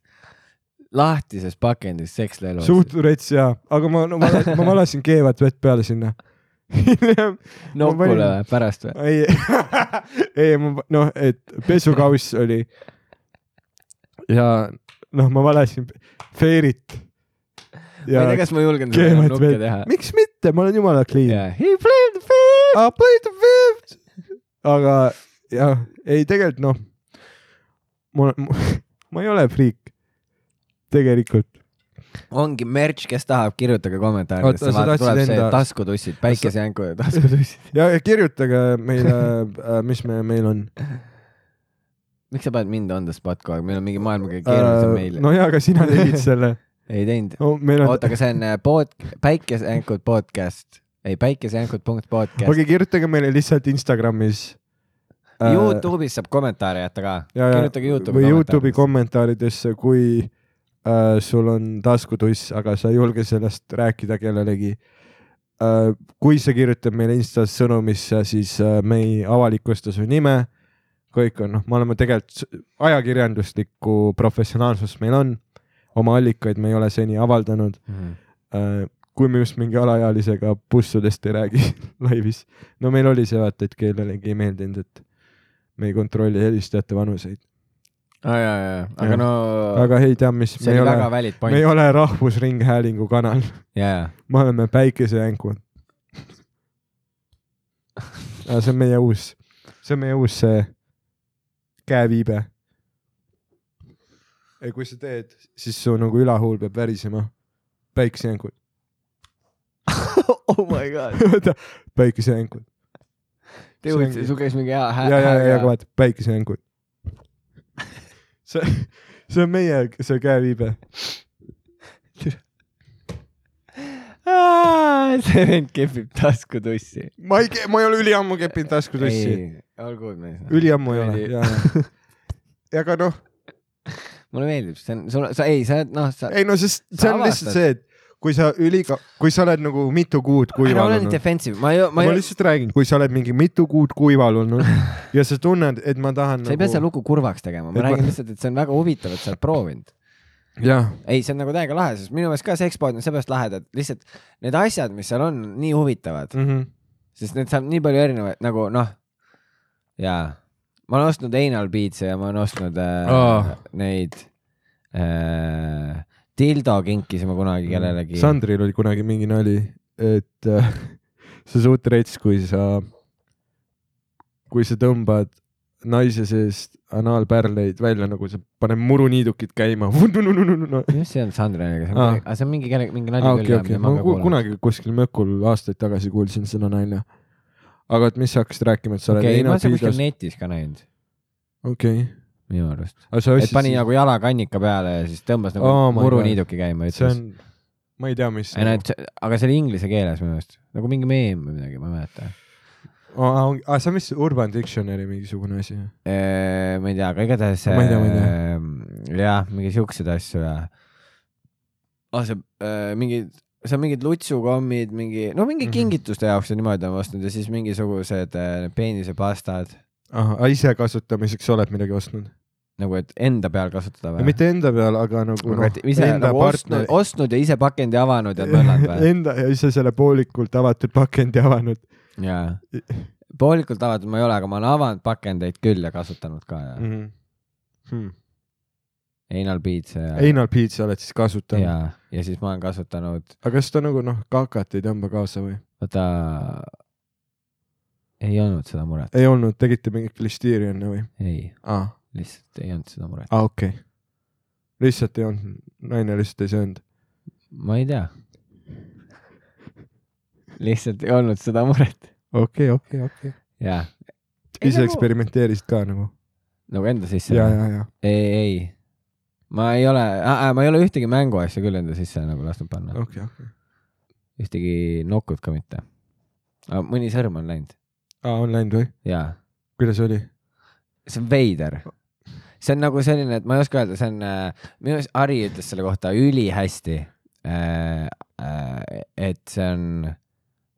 Speaker 1: lahtises pakendis sekslelu .
Speaker 2: suht rets jaa , aga ma , no ma , ma valasin keevat vett peale sinna . hiljem , ma
Speaker 1: nokule
Speaker 2: panin-
Speaker 1: või , pärast või ?
Speaker 2: ei , ei ma , noh , et pesukauss oli . ja noh , ma valasin Fairit .
Speaker 1: ma
Speaker 2: ja
Speaker 1: ei tea , kas ma julgen seda
Speaker 2: keevat
Speaker 1: nukke
Speaker 2: vett
Speaker 1: teha .
Speaker 2: miks mitte , ma olen jumala clean .
Speaker 1: Yeah. He played the field .
Speaker 2: I played the fifth . aga jah , ei tegelikult noh , ma , ma ei ole friik . tegelikult .
Speaker 1: ongi merch , kes tahab , kirjutage kommentaariumisse ,
Speaker 2: Oota, sa
Speaker 1: vaata tuleb
Speaker 2: tahtsid
Speaker 1: see
Speaker 2: enda-
Speaker 1: taskutussid , päikesejänkude taskutussid .
Speaker 2: ja ja kirjutage meile , mis me , meil on .
Speaker 1: miks sa paned mind on the spot kogu aeg , meil on mingi maailma kõige keerulisem meil .
Speaker 2: Äh, no jaa , aga sina tegid selle .
Speaker 1: ei teinud .
Speaker 2: no meil on ,
Speaker 1: oota , aga see on äh, pod- , päikesejänkud podcast , ei päikesejänkud punkt podcast okay. .
Speaker 2: okei , kirjutage meile lihtsalt Instagramis .
Speaker 1: Äh,
Speaker 2: Äh,
Speaker 1: Youtube'is saab kommentaare jätta ka .
Speaker 2: Ja, ja,
Speaker 1: kirjutage Youtube'i .
Speaker 2: või Youtube'i . kommentaaridesse , kui äh, sul on taskutuss , aga sa ei julge sellest rääkida kellelegi äh, . kui sa kirjutad meile Instas sõnumisse , siis äh, me ei avalikusta su nime . kõik on , noh , me oleme tegelikult s- ajakirjanduslikku professionaalsust meil on , oma allikaid me ei ole seni avaldanud
Speaker 1: Mhm.
Speaker 2: äh, kui me just mingi alaealisega bussudest ei räägi laivis . no meil oli see vaata , et kellelegi ei meeldinud , et me ei kontrolli helistajate vanuseid ,
Speaker 1: aa ah, jaa , jaa ,
Speaker 2: Jah.
Speaker 1: aga no aga
Speaker 2: aga ei tea , mis ,
Speaker 1: see oli
Speaker 2: me ei
Speaker 1: ole, väga
Speaker 2: ole ,
Speaker 1: valid
Speaker 2: me ei
Speaker 1: point .
Speaker 2: ole Rahvusringhäälingu kanal ,
Speaker 1: jaa , jaa .
Speaker 2: me oleme Päikesejänkud . see on meie uus , see on meie uus see käeviibe . ei , kui sa teed , siis su nagu ülahuul peab värisema . päikesejänkud ,
Speaker 1: oh my god .
Speaker 2: oota , päikesejänkud .
Speaker 1: tegelikult
Speaker 2: See ongi-
Speaker 1: sul käis mingi hea hää-
Speaker 2: ja , ja , ja ,
Speaker 1: hää-
Speaker 2: aga vaata , päikesejängud . see , see on meie , see käeviibe .
Speaker 1: Aa, see vend kehvib taskutussi .
Speaker 2: ma ei , ma ei ole üliammu keppinud taskutussi .
Speaker 1: ei , olgu uudne .
Speaker 2: üliammu ei ole ,
Speaker 1: Ei.
Speaker 2: ja , ja . aga noh ,
Speaker 1: mulle meeldib , see on , sul , sa ei , sa , noh , sa .
Speaker 2: ei no sest see on
Speaker 1: avastad.
Speaker 2: lihtsalt see , et kui sa ülika- , kui sa oled nagu mitu kuud
Speaker 1: ma olen
Speaker 2: kuival olnud .
Speaker 1: defensive , ma ei ,
Speaker 2: ma
Speaker 1: ma ei ,
Speaker 2: lihtsalt räägin , kui sa oled mingi mitu kuud kuival olnud ja sa tunned , et ma tahan
Speaker 1: sa ei pea seda
Speaker 2: nagu .
Speaker 1: lugu kurvaks tegema ,
Speaker 2: Et
Speaker 1: ma
Speaker 2: ma-
Speaker 1: räägin lihtsalt , et see on väga huvitav , et sa oled proovinud .
Speaker 2: jah ,
Speaker 1: ei , see on nagu täiega lahe , sest minu meelest ka see ekspood on seepärast lahedad , lihtsalt need asjad , mis seal on , nii huvitavad ,
Speaker 2: Mm. Mhm.
Speaker 1: sest need saab nii palju erinevaid nagu noh , jaa . ma olen ostnud Anal Beats'e ja ma olen ostnud äh, oh.
Speaker 2: Aa.
Speaker 1: neid äh, . Dildo kinkisime
Speaker 2: Mm.
Speaker 1: kunagi kellelegi .
Speaker 2: Sandril oli kunagi mingi nali , et äh, see on suht rets , kui sa , kui sa tõmbad naise seest anaalpärleid välja , nagu sa paned muruniidukid käima . aa ,
Speaker 1: minu arust see ei olnud Sandra , aga see on
Speaker 2: Aa.
Speaker 1: mingi , see on mingi
Speaker 2: Ah,
Speaker 1: kellegi , mingi nali
Speaker 2: okei , okei , ma ku- . kunagi kuskil mökul aastaid tagasi kuulsin seda nalja . aga et mis sa hakkasid rääkima , et sa oled
Speaker 1: okei , ma olen seda kuskil
Speaker 2: heinapiidas ,
Speaker 1: netis ka näinud ,
Speaker 2: okei ,
Speaker 1: minu arust .
Speaker 2: aga sa
Speaker 1: et pani
Speaker 2: ostsid ,
Speaker 1: nagu jala kannika peale ja siis tõmbas nagu
Speaker 2: Oh
Speaker 1: oh
Speaker 2: my
Speaker 1: muruniiduki käima ,
Speaker 2: see
Speaker 1: ütles
Speaker 2: on . ma ei tea , mis .
Speaker 1: ei no , et see- aga see oli inglise keeles minu arust , nagu mingi meem või midagi , ma ei mäleta .
Speaker 2: aa , see on vist Urban Dictionary mingisugune asi .
Speaker 1: ma ei tea , aga igatahes .
Speaker 2: Ma ei tea, ma ei tea.
Speaker 1: tea . jah , mingi siukseid asju ja . aa , see äh, mingi , see on mingid lutsukommid , mingi , no mingi
Speaker 2: Mhm.
Speaker 1: kingituste jaoks ja niimoodi on ostnud ja siis mingisugused äh, peenisepastad
Speaker 2: ahah , ise kasutamiseks oled midagi ostnud ?
Speaker 1: nagu , et enda peal kasutada või ?
Speaker 2: mitte enda peal , aga nagu
Speaker 1: aga et ise
Speaker 2: enda
Speaker 1: nagu ostnud ,
Speaker 2: partneri ,
Speaker 1: ostnud ja ise pakendi avanud ja mõelnud või ?
Speaker 2: enda ja ise selle poolikult avatud pakendi avanud
Speaker 1: jaa . poolikult avatud ma ei ole , aga ma olen avanud pakendeid küll ja kasutanud ka ja mm. .
Speaker 2: mm . -hmm.
Speaker 1: Anal Beats ja ,
Speaker 2: Anal Pete sa oled siis
Speaker 1: ja
Speaker 2: kasutanud ,,
Speaker 1: ja siis ma olen kasutanud ,
Speaker 2: aga kas ta nagu noh , kakat ei tõmba kaasa või ?
Speaker 1: oota , ei olnud seda muret ,
Speaker 2: ei olnud , tegite mingit listiiri enne või ?
Speaker 1: ei ,
Speaker 2: aa ,
Speaker 1: lihtsalt ei olnud seda muret .
Speaker 2: aa okei okay. . lihtsalt ei olnud , naine lihtsalt ei söönud .
Speaker 1: ma ei tea . lihtsalt ei olnud seda muret ,
Speaker 2: okei , okei , okei .
Speaker 1: jaa .
Speaker 2: ise . eksperimenteerisid ka nagu ?
Speaker 1: nagu enda sisse ?
Speaker 2: ja , ja , ja .
Speaker 1: ei , ei , ma ei ole , ma ei ole ühtegi mänguasja küll enda sisse nagu lasknud panna .
Speaker 2: okei , okei .
Speaker 1: ühtegi nokut ka mitte . mõni sõrm on läinud
Speaker 2: aa , on läinud või ?
Speaker 1: ja
Speaker 2: kuidas oli ?
Speaker 1: see on veider . see on nagu selline , et ma ei oska öelda , see on äh, , minu arust Ari ütles selle kohta ülihästi äh, . Äh, et see on ,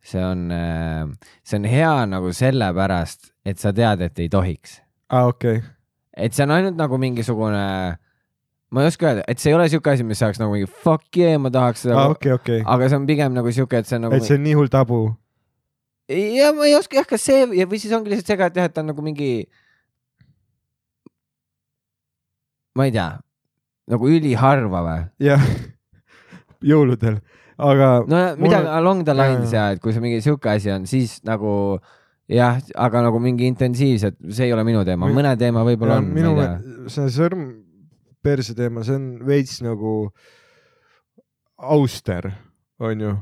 Speaker 1: see on äh, , see on hea nagu sellepärast , et sa tead , et ei tohiks .
Speaker 2: aa , okei .
Speaker 1: et see on ainult nagu mingisugune , ma ei oska öelda , et see ei ole siuke asi , mis oleks nagu mingi fuck yeah , ma tahaks seda
Speaker 2: aa ,
Speaker 1: ah, , okay.
Speaker 2: okei , okei .
Speaker 1: aga see on pigem nagu siuke , et see on nagu
Speaker 2: et see on nii hull tabu .
Speaker 1: ja ma ei oska jah , kas see ja või siis ongi lihtsalt see ka , et jah , et ta on nagu mingi . ma ei tea , nagu üliharva või ?
Speaker 2: jah , jõuludel , aga no,
Speaker 1: no
Speaker 2: Mul
Speaker 1: midagi
Speaker 2: on-
Speaker 1: along the
Speaker 2: jaa,
Speaker 1: lines ja , et kui see mingi sihuke asi on , siis nagu jah , aga nagu mingi intensiivselt , see ei ole minu teema ,
Speaker 2: Mi-
Speaker 1: mõne teema võib-olla on , ma
Speaker 2: minu
Speaker 1: ei tea .
Speaker 2: see sõrm perse teema , see on veits nagu auster , onju .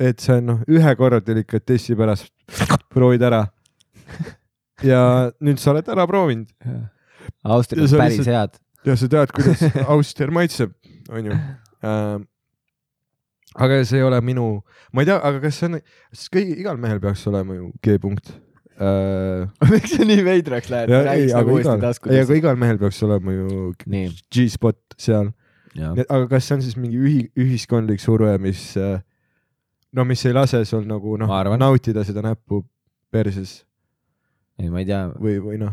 Speaker 2: et see on noh , ühe korra delikaat testi pärast proovid ära . ja nüüd sa oled ära proovinud Ja
Speaker 1: Austrias
Speaker 2: see on
Speaker 1: päris head .
Speaker 2: ja sa tead , kuidas auster maitseb , onju . aga see ei ole minu , ma ei tea , aga kas see on , sest kõigi , igal mehel peaks olema ju G-punkt äh, .
Speaker 1: miks sa nii veidraks lähed
Speaker 2: ja ei ,
Speaker 1: nagu
Speaker 2: aga igal , ei , aga igal mehel peaks olema ju
Speaker 1: nii ,
Speaker 2: G-spot seal ,
Speaker 1: jah ,
Speaker 2: aga kas see on siis mingi ühi- , ühiskondlik surve , mis äh, no mis ei lase sul nagu noh
Speaker 1: Ma arvan. ,
Speaker 2: nautida seda näppu perses
Speaker 1: ei ma ei tea ,
Speaker 2: või , või noh ,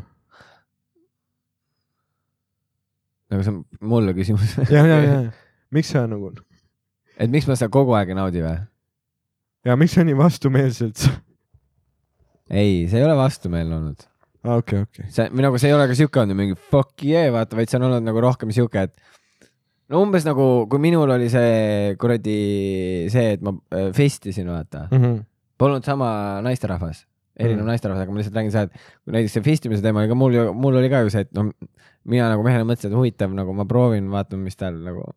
Speaker 1: nagu see on mulle küsimus ,
Speaker 2: ja , ja , ja miks sa nagu
Speaker 1: et miks ma seda kogu aeg ei naudi või ?
Speaker 2: ja miks sa nii vastumeelselt ,
Speaker 1: ei , see ei ole vastumeelne olnud .
Speaker 2: okei , okei ,
Speaker 1: see , või nagu see ei ole ka siuke olnud mingi fuck yeah , vaata , vaid see on olnud nagu rohkem siuke , et no umbes nagu , kui minul oli see kuradi see , et ma äh, festisin , vaata ,
Speaker 2: Mm.
Speaker 1: polnud sama naisterahvas , erinev
Speaker 2: Mhm.
Speaker 1: mm. naisterahvas , aga ma lihtsalt räägin seda , et kui näiteks see festimise teema oli ka mul ju , mul oli ka ju see , et no mina nagu mehena mõtlesin , et huvitav , nagu ma proovin , vaatame , mis tal nagu .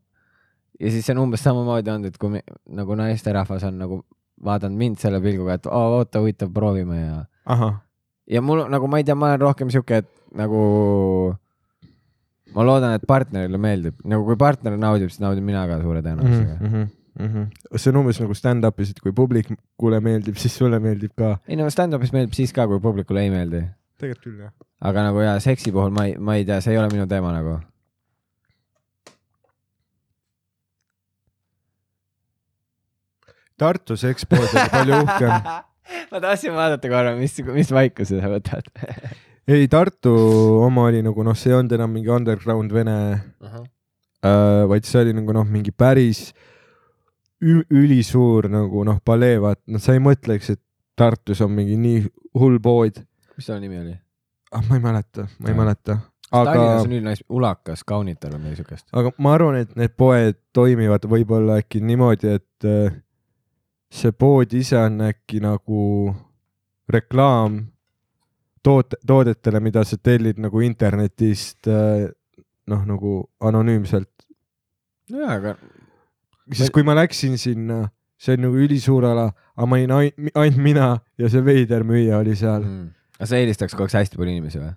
Speaker 1: ja siis see on umbes samamoodi olnud , et kui me, nagu naisterahvas on nagu vaadanud mind selle pilguga , et oo, oota , huvitav , proovime ja
Speaker 2: ahah ,
Speaker 1: ja mul nagu ma ei tea , ma olen rohkem sihuke , et nagu ma loodan , et partnerile meeldib , nagu kui partner naudib , siis naudin mina ka suure tõenäosusega mm . -hmm.
Speaker 2: see on umbes nagu stand-up'is , et kui publikule meeldib , siis sulle meeldib ka .
Speaker 1: ei no stand-up'is meeldib siis ka , kui publikule ei meeldi ,
Speaker 2: tegelikult küll jah .
Speaker 1: aga nagu ja seksi puhul ma ei , ma ei tea , see ei ole minu teema nagu .
Speaker 2: Tartus Expod oli palju uhkem
Speaker 1: ma tahtsin vaadata korra , mis , mis vaikuse sa võtad
Speaker 2: ei , Tartu oma oli nagu noh , see ei olnud enam mingi underground vene
Speaker 1: uh . -huh.
Speaker 2: äh, , vaid see oli nagu noh , mingi päris ü- ülisuur nagu noh , palee , vaat noh , sa ei mõtleks , et Tartus on mingi nii hull pood .
Speaker 1: mis selle nimi oli ?
Speaker 2: ah , ma ei mäleta , ma ei
Speaker 1: Jaa.
Speaker 2: mäleta ,
Speaker 1: Aga...
Speaker 2: aga ,
Speaker 1: Tallinnas on üldine ulakas , kaunital on midagi siukest .
Speaker 2: aga ma arvan , et need poed toimivad võib-olla äkki niimoodi , et äh, see pood ise on äkki nagu reklaam toote , toodetele , mida sa tellid nagu internetist äh, noh , nagu anonüümselt
Speaker 1: nojaa , aga
Speaker 2: siis kui ma läksin sinna , see on nagu ülisuur ala , aga ma olin ain- , ainult mina ja see veider müüja oli seal
Speaker 1: Mhm.
Speaker 2: mm. .
Speaker 1: aga sa eelistaks kogu aeg hästi palju inimesi või ?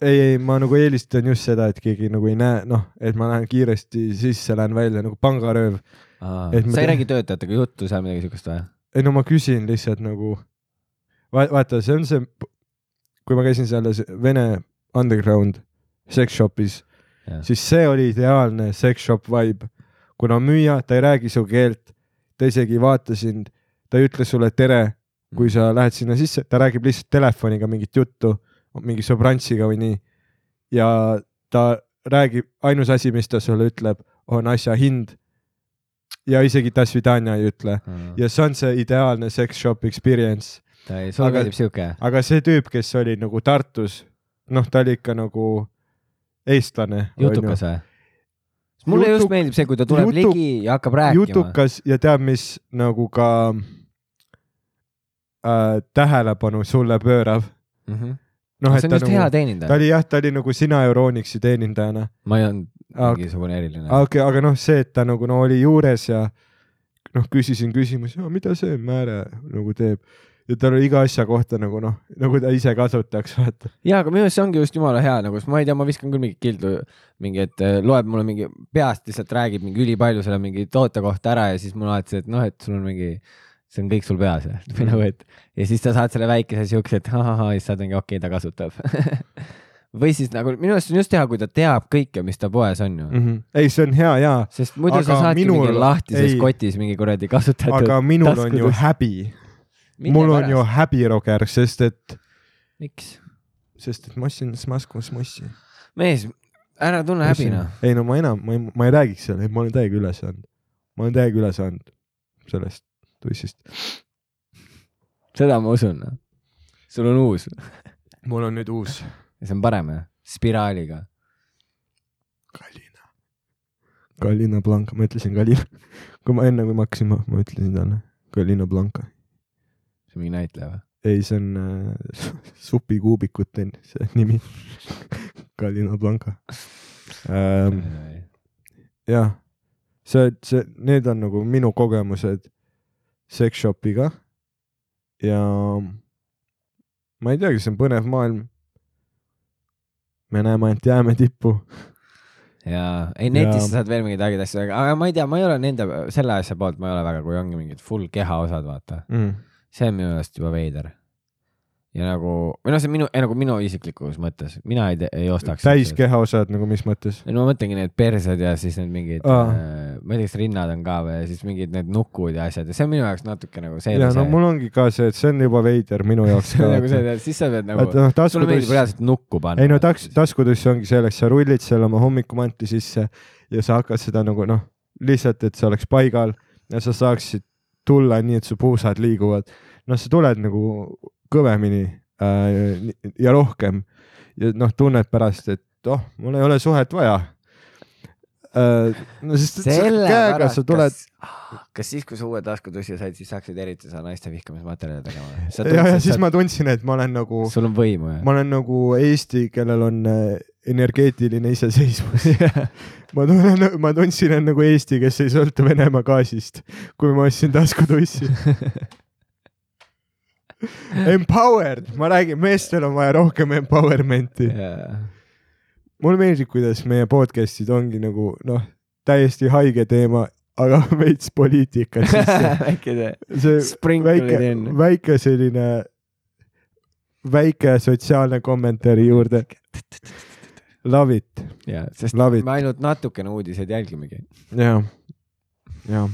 Speaker 2: ei , ei , ma nagu eelistan just seda , et keegi nagu ei näe , noh , et ma lähen kiiresti sisse , lähen välja nagu pangarööv . Et ma
Speaker 1: sa ei
Speaker 2: tean-
Speaker 1: räägi töötajatega juttu seal midagi siukest või ?
Speaker 2: ei no ma küsin lihtsalt nagu , vaata , see on see , kui ma käisin selles Vene underground sex shop'is ,
Speaker 1: Jah.
Speaker 2: siis see oli ideaalne sex shop vibe , kuna müüja , ta ei räägi su keelt , ta isegi ei vaata sind , ta ei ütle sulle tere , kui sa lähed sinna sisse , ta räägib lihtsalt telefoniga mingit juttu , mingi sõbrantsiga või nii . ja ta räägib , ainus asi , mis ta sulle ütleb , on asja hind . ja isegi ta svidanja ei ütle ja see on see ideaalne sex shop experience ,
Speaker 1: sulle
Speaker 2: aga-
Speaker 1: meeldib siuke ?
Speaker 2: aga see tüüp , kes oli nagu Tartus , noh , ta oli ikka nagu eestlane .
Speaker 1: jutukas või ? mulle just
Speaker 2: noh. Jutuk-
Speaker 1: meeldib see , kui ta tuleb
Speaker 2: jutuk-
Speaker 1: ligi ja hakkab rääkima .
Speaker 2: jutukas ja teab , mis nagu ka äh, tähelepanu sulle pöörab . noh ,
Speaker 1: Mhm.
Speaker 2: et
Speaker 1: see on
Speaker 2: ta
Speaker 1: just hea
Speaker 2: nagu , ta
Speaker 1: teenindaja .
Speaker 2: oli jah , ta oli nagu sina Euronixi teenindajana ,
Speaker 1: ma ei olnud
Speaker 2: aga ,
Speaker 1: mingisugune eriline .
Speaker 2: aga , aga noh , see , et ta nagu no oli juures ja noh , küsisin küsimusi , mida see määre nagu teeb ja tal oli iga asja kohta nagu noh , nagu ta ise kasutaks , vaata .
Speaker 1: ja , aga minu arust see ongi just jumala hea nagu , sest ma ei tea , ma viskan küll mingit kildu , mingi , et eh, loeb mulle mingi peast lihtsalt räägib mingi ülipalju selle mingi toote kohta ära ja siis mul alati see , et noh , et sul on mingi , see on kõik sul peas ja või nagu , et ja siis sa saad selle väikese siukse , et ahahah ja siis saad mingi okei okay, , ta kasutab . või siis nagu minu arust on just hea , kui ta teab kõike , mis ta poes on ju .
Speaker 2: mm . -hmm. ei , see on hea ja ,
Speaker 1: sest muidu aga sa
Speaker 2: Aga
Speaker 1: saadki
Speaker 2: minul-
Speaker 1: mingi lahtises
Speaker 2: ei.
Speaker 1: kotis mingi kuradi kasutatud .
Speaker 2: aga minul on ju . häbi , mul on ju häbi , Roger , sest et ,
Speaker 1: miks ?
Speaker 2: sest et mossin smasku smossi .
Speaker 1: mees , ära tunne häbi noh .
Speaker 2: ei no ma enam , ma ei , ma ei räägiks selle , ma olen täiega üle saanud , ma olen täiega üle saanud sellest tussist .
Speaker 1: seda ma usun . sul on uus
Speaker 2: mul on nüüd uus
Speaker 1: ja see on parem jah , spiraaliga .
Speaker 2: Kalina . Kalina Blanka , ma ütlesin Kalina , kui ma enne , kui ma hakkasin , ma ütlesin talle Kalina Blanka .
Speaker 1: see on mingi näitleja või ?
Speaker 2: ei , see on äh, supikuubikute see nimi . Kalina Blanka ähm, . jah , see , see , need on nagu minu kogemused sex shopiga . ja ma ei teagi , see on põnev maailm . me näeme ainult jääme tippu .
Speaker 1: ja ei netis
Speaker 2: Ja-
Speaker 1: sa saad veel mingeid ägedaid asju , aga ma ei tea , ma ei ole nende , selle asja poolt ma ei ole väga , kui ongi mingid full kehaosad , vaata .
Speaker 2: Mm.
Speaker 1: see on minu arust juba veider . ja nagu , või noh , see on minu , nagu minu isiklikus mõttes , mina ei , ei ostaks .
Speaker 2: täis kehaosad nagu mis mõttes ?
Speaker 1: ei no ma mõtlengi need persed ja siis need mingid ,
Speaker 2: Aa.
Speaker 1: ma ei tea , kas rinnad on ka või , ja siis mingid need nukud ja asjad ja see on minu jaoks natuke nagu see .
Speaker 2: ja no mul ongi ka see , et see on juba veider minu jaoks
Speaker 1: see
Speaker 2: ka
Speaker 1: on . nagu see , siis sa pead nagu
Speaker 2: et , noh ,
Speaker 1: sulle meeldib
Speaker 2: taskutuss ,
Speaker 1: reaalselt nukku panna .
Speaker 2: ei no taks- , taskutuss ongi selleks , sa rullid selle oma hommikumantli sisse ja sa hakkad seda nagu noh , lihtsalt , et see oleks paigal ja sa saaksid tulla nii , et su puusad liiguvad . noh , sa tuled nagu kõvemini äh, ni- ja rohkem ja noh , tunned pärast , et oh , mul ei ole suhet vaja äh, . no sest et sa käega sa tuled ,
Speaker 1: kas, ah, kas siis , kui sa uue taskutussi said , siis hakkasid eriti seda naiste vihkamismaterjali tegema või ?
Speaker 2: ja , ja siis ma tundsin , et ma olen nagu ,
Speaker 1: sul on võimu jah ?
Speaker 2: ma olen nagu Eesti , kellel on äh, energeetiline iseseisvus ma tunnen , ma tundsin end nagu Eesti , kes ei sõltu Venemaa gaasist , kui ma ostsin taskutussi . Empowered , ma räägin , meestel on vaja rohkem empowerment'i . mulle meeldib , kuidas meie podcast'id ongi nagu noh , täiesti haige teema , aga veits poliitikat sisse .
Speaker 1: äkki see .
Speaker 2: see
Speaker 1: Sprinklerid
Speaker 2: väike
Speaker 1: in. ,
Speaker 2: väike selline , väike sotsiaalne kommentaari juurde . Love it ,
Speaker 1: jaa , sest
Speaker 2: Love it.
Speaker 1: me ainult natukene uudiseid jälgimegi .
Speaker 2: jah , jah .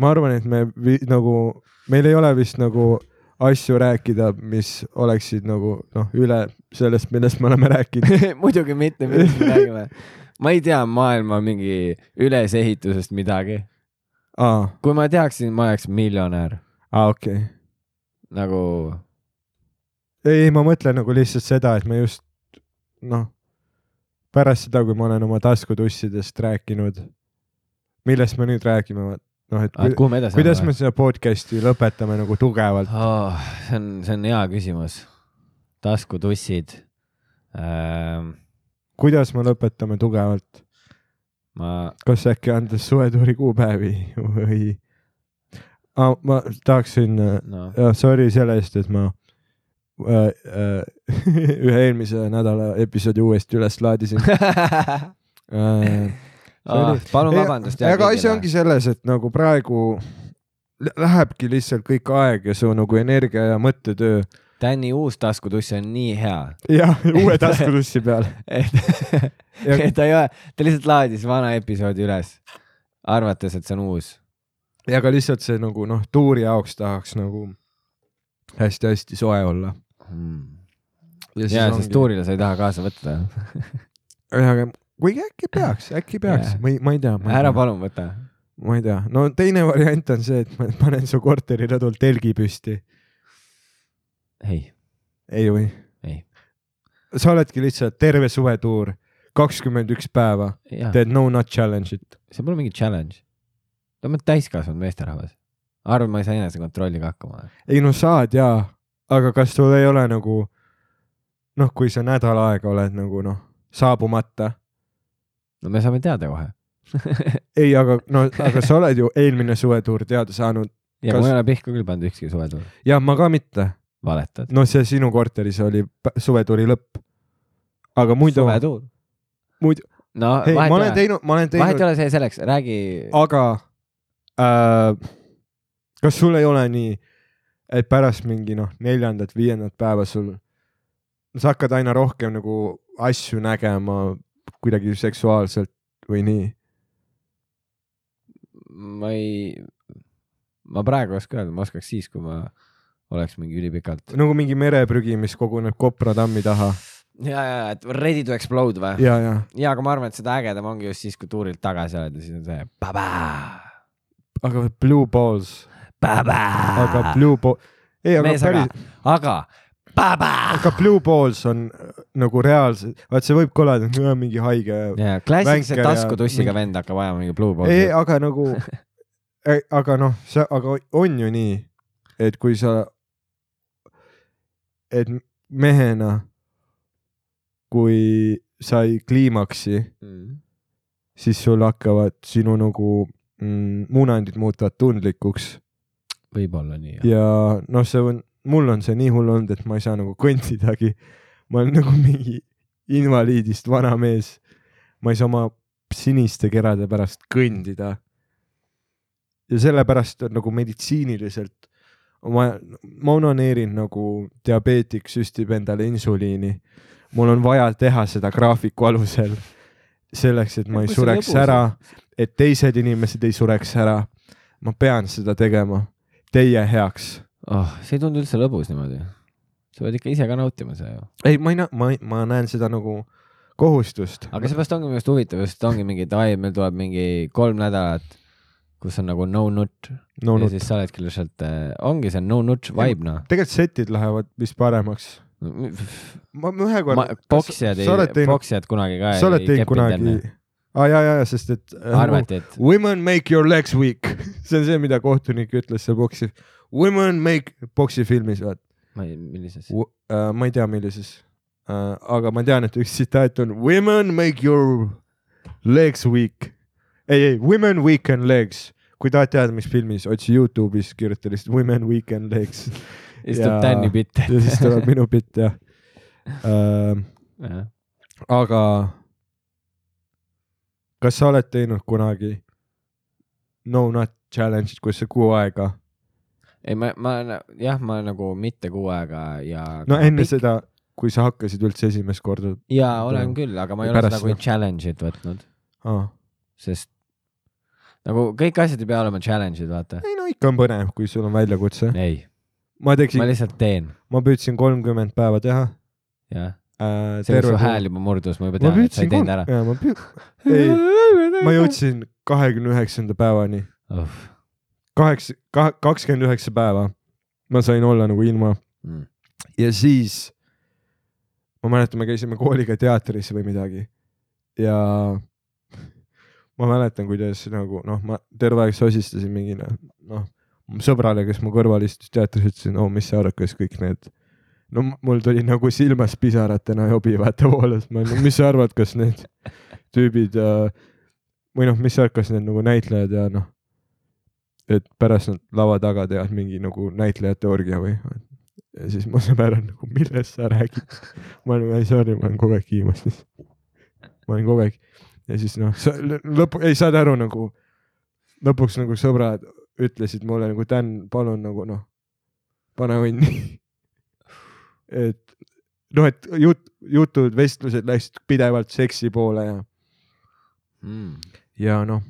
Speaker 2: ma arvan , et me vi, nagu , meil ei ole vist nagu asju rääkida , mis oleksid nagu noh , üle sellest , millest me oleme rääkinud .
Speaker 1: muidugi mitte , millest me räägime . ma ei tea maailma mingi ülesehitusest midagi .
Speaker 2: aa ,
Speaker 1: kui ma teaksin , ma oleks miljonär
Speaker 2: aa okei okay. .
Speaker 1: nagu
Speaker 2: ei , ei ma mõtlen nagu lihtsalt seda , et ma just noh , pärast seda , kui ma olen oma taskutussidest rääkinud , millest me nüüd räägime , noh et
Speaker 1: ah, ,
Speaker 2: kui,
Speaker 1: kuhu me edasi
Speaker 2: kuidas me seda podcast'i lõpetame nagu tugevalt .
Speaker 1: oh, ? see on , see on hea küsimus . taskutussid ähm, .
Speaker 2: kuidas me lõpetame tugevalt ?
Speaker 1: ma ,
Speaker 2: kas äkki andes suvetuuri kuupäevi või ah, ? ma tahaksin ,
Speaker 1: noh ,
Speaker 2: sorry selle eest , et ma äh, äh, ühe eelmise nädala episoodi uuesti üles laadisin äh, .
Speaker 1: ah, palun vabandust .
Speaker 2: aga asi ongi selles , et nagu praegu lä- lähebki lihtsalt kõik aeg ja see on nagu energia ja mõttetöö
Speaker 1: Tänni uus taskutuss on nii hea ,
Speaker 2: ja uue taskutussi peale .
Speaker 1: et et ta ei ole , ta lihtsalt laadis vana episoodi üles , arvates , et see on uus .
Speaker 2: ja ka lihtsalt see nagu noh , tuuri jaoks tahaks nagu hästi-hästi soe olla .
Speaker 1: Hmm. ja , sest . tuurile sa ei taha kaasa võtta .
Speaker 2: aga kuigi äkki peaks , äkki peaks
Speaker 1: Jah. ,
Speaker 2: ma ei , ma ei tea .
Speaker 1: ära palun võta .
Speaker 2: ma ei tea , no teine variant on see , et ma panen su korteri rõdul telgi püsti .
Speaker 1: ei ,
Speaker 2: ei või ?
Speaker 1: ei ,
Speaker 2: sa oledki lihtsalt terve suvetuur , kakskümmend üks päeva ,
Speaker 1: jaa ,
Speaker 2: teed no not challenge'it .
Speaker 1: see pole mingi challenge . no ma olen täiskasvanud meesterahvas . arvan , ma ei saa enesekontrolliga hakkama .
Speaker 2: ei no saad jaa , aga kas sul ei ole nagu noh , kui sa nädal aega oled nagu noh , saabumata ,
Speaker 1: no me saame teada kohe .
Speaker 2: ei , aga no , aga sa oled ju eelmine suvetuur teada saanud
Speaker 1: ja
Speaker 2: Kas-
Speaker 1: mul ei ole pihku küll pandud ükski suvetuur .
Speaker 2: ja ma ka mitte .
Speaker 1: valetad .
Speaker 2: no see sinu korteris oli pä- suvetuuri lõpp . aga muidu ,
Speaker 1: suvetuur .
Speaker 2: muidu ,
Speaker 1: no
Speaker 2: ei , ma olen
Speaker 1: vahet ei ole ,
Speaker 2: teinud , ma olen
Speaker 1: vahet ei
Speaker 2: teinud ,
Speaker 1: ole , see selleks , räägi .
Speaker 2: aga äh, kas sul ei ole nii , et pärast mingi noh , neljandat-viiendat päeva sul , sa hakkad aina rohkem nagu asju nägema kuidagi seksuaalselt või nii ?
Speaker 1: ma ei , ma praegu ei oska öelda , ma oskaks siis , kui ma oleks mingi ülipikalt .
Speaker 2: nagu mingi mereprügi , mis koguneb Kopra tammi taha
Speaker 1: ja , ja , et ready to explode või ?
Speaker 2: ja , ja ,
Speaker 1: ja , aga ma arvan , et seda ägedam ongi just siis , kui tuurilt tagasi oled ja siis on see babaa ,
Speaker 2: aga Blue Balls ,
Speaker 1: babaa .
Speaker 2: aga Blue Ball , ei , aga
Speaker 1: mees , aga
Speaker 2: päris ,,
Speaker 1: aga babaa .
Speaker 2: aga Blue Balls on äh, nagu reaalselt , vaat see võib kõlada et "Nõ, mingi haige
Speaker 1: jaa , klassikalise
Speaker 2: Vänker ja
Speaker 1: taskutussiga
Speaker 2: mingi-
Speaker 1: vend hakkab ajama mingi Blue
Speaker 2: ei ,
Speaker 1: Balli .
Speaker 2: aga nagu , aga noh , see , aga on ju nii , et kui sa , et mehena , kui sa ei kliimaksi ,
Speaker 1: Mm.
Speaker 2: siis sul hakkavad sinu nagu mm, munandid muutuvad tundlikuks
Speaker 1: võib-olla nii .
Speaker 2: ja noh , see on , mul on see nii hull olnud , et ma ei saa nagu kõndidagi . ma olen nagu mingi invaliidist vana mees . ma ei saa oma siniste kerade pärast kõndida . ja sellepärast on nagu meditsiiniliselt , ma , ma onaneerin nagu diabeetik süstib endale insuliini . mul on vaja teha seda graafiku alusel selleks , et
Speaker 1: Ja
Speaker 2: ma ei
Speaker 1: kui see
Speaker 2: sureks
Speaker 1: lõbus on.
Speaker 2: ära , et teised inimesed ei sureks ära . ma pean seda tegema teie heaks
Speaker 1: oh , see ei tundu üldse lõbus niimoodi . sa pead ikka ise ka nautima seda ju .
Speaker 2: ei , ma ei näe , ma , ma näen seda nagu kohustust .
Speaker 1: aga seepärast ongi minu arust huvitav , just ongi mingi , et ai , meil tuleb mingi kolm nädalat , kus on nagu no nut
Speaker 2: no,
Speaker 1: ja
Speaker 2: no,
Speaker 1: siis sa oledki lihtsalt , ongi see no nut vibe noh .
Speaker 2: tegelikult setid lähevad vist paremaks . ma ma ühe korra .
Speaker 1: poksijad
Speaker 2: sa oled
Speaker 1: ei ,
Speaker 2: teinud ,
Speaker 1: poksijad kunagi ka
Speaker 2: sa oled teinud kunagi . aa ah, ja , ja , sest et äh,
Speaker 1: arvati , et
Speaker 2: women make your legs weak . see on see , mida kohtunik ütles seal boksi , women make boksi filmis , vaat
Speaker 1: ma ei , millises .
Speaker 2: uh, . ma ei tea , millises uh, , aga ma tean , et üks tsitaat on women make your legs weak . ei , ei women weaken legs , kui tahad teada , mis filmis , otsi Youtube'is , kirjuta lihtsalt women weaken legs
Speaker 1: istub
Speaker 2: jaa.
Speaker 1: Tänni pitt .
Speaker 2: ja siis tuleb minu bitt jah uh, . aga kas sa oled teinud kunagi no not challenge'it , kus sa kuu aega ,
Speaker 1: ei , ma , ma jah , ma nagu mitte kuu aega ja .
Speaker 2: no enne . seda , kui sa hakkasid üldse esimest korda
Speaker 1: ja olen küll , aga ma ei ole
Speaker 2: Pärast
Speaker 1: seda kui
Speaker 2: seda.
Speaker 1: challenge'it võtnud ,
Speaker 2: ah.
Speaker 1: sest nagu kõik asjad ei pea olema challenge'id , vaata .
Speaker 2: ei no ikka on põnev , kui sul on väljakutse .
Speaker 1: ei ,
Speaker 2: ma tegin
Speaker 1: ma , lihtsalt teen ,
Speaker 2: ma püüdsin kolmkümmend päeva teha
Speaker 1: jah .
Speaker 2: äh, .
Speaker 1: see oli su hääl juba murdus , ma juba
Speaker 2: ma
Speaker 1: tean , et sa
Speaker 2: püüdsin
Speaker 1: ei teinud ära .
Speaker 2: kolm , ma püüd- , ei , ma . jõudsin kahekümne üheksanda päevani , kaheksa , kakskümmend üheksa päeva ma sain olla nagu ilma ja siis ma mäletan , me käisime kooliga teatris või midagi ja ma mäletan , kuidas nagu noh , ma terve aeg sosistasin mingile noh , sõbrale , kes mu kõrval istus teatris , ütlesin , no mis sa arvad , kas kõik need no m- mul tuli nagu silmas pisaratena jobi vaata voolas , ma olin , mis sa arvad , kas need tüübid äh, või noh , mis värkas need nagu näitlejad ja noh , et pärast nad lava taga teevad mingi nagu näitlejate orgia või ? ja siis mu sõber on nagu , millest sa räägid ? ma olen nagu , ei sorry , ma olen kogu aeg kiimas siis . ma olen kogu aeg ja siis noh , sa lõ- lõpu , ei saad aru nagu , lõpuks nagu sõbrad ütlesid mulle nagu Dan , palun nagu noh , pane õnni . et noh , et jut- , jutud , vestlused läksid pidevalt seksi poole ja ,
Speaker 1: mm. .
Speaker 2: ja noh ,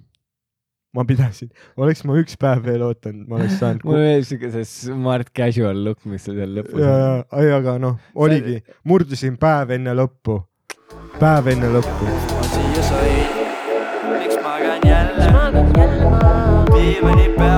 Speaker 2: ma pidasin , oleks ma üks päev veel ootanud , ma oleks saanud
Speaker 1: mul oli siuke see smart casual look , mis sul seal lõpus
Speaker 2: ja , ja , ei , aga noh , oligi , murdusin päev enne lõppu , päev enne lõppu .
Speaker 3: ma siia sain , miks magan jälle
Speaker 4: magan jälle ma ,
Speaker 3: diivani peal ?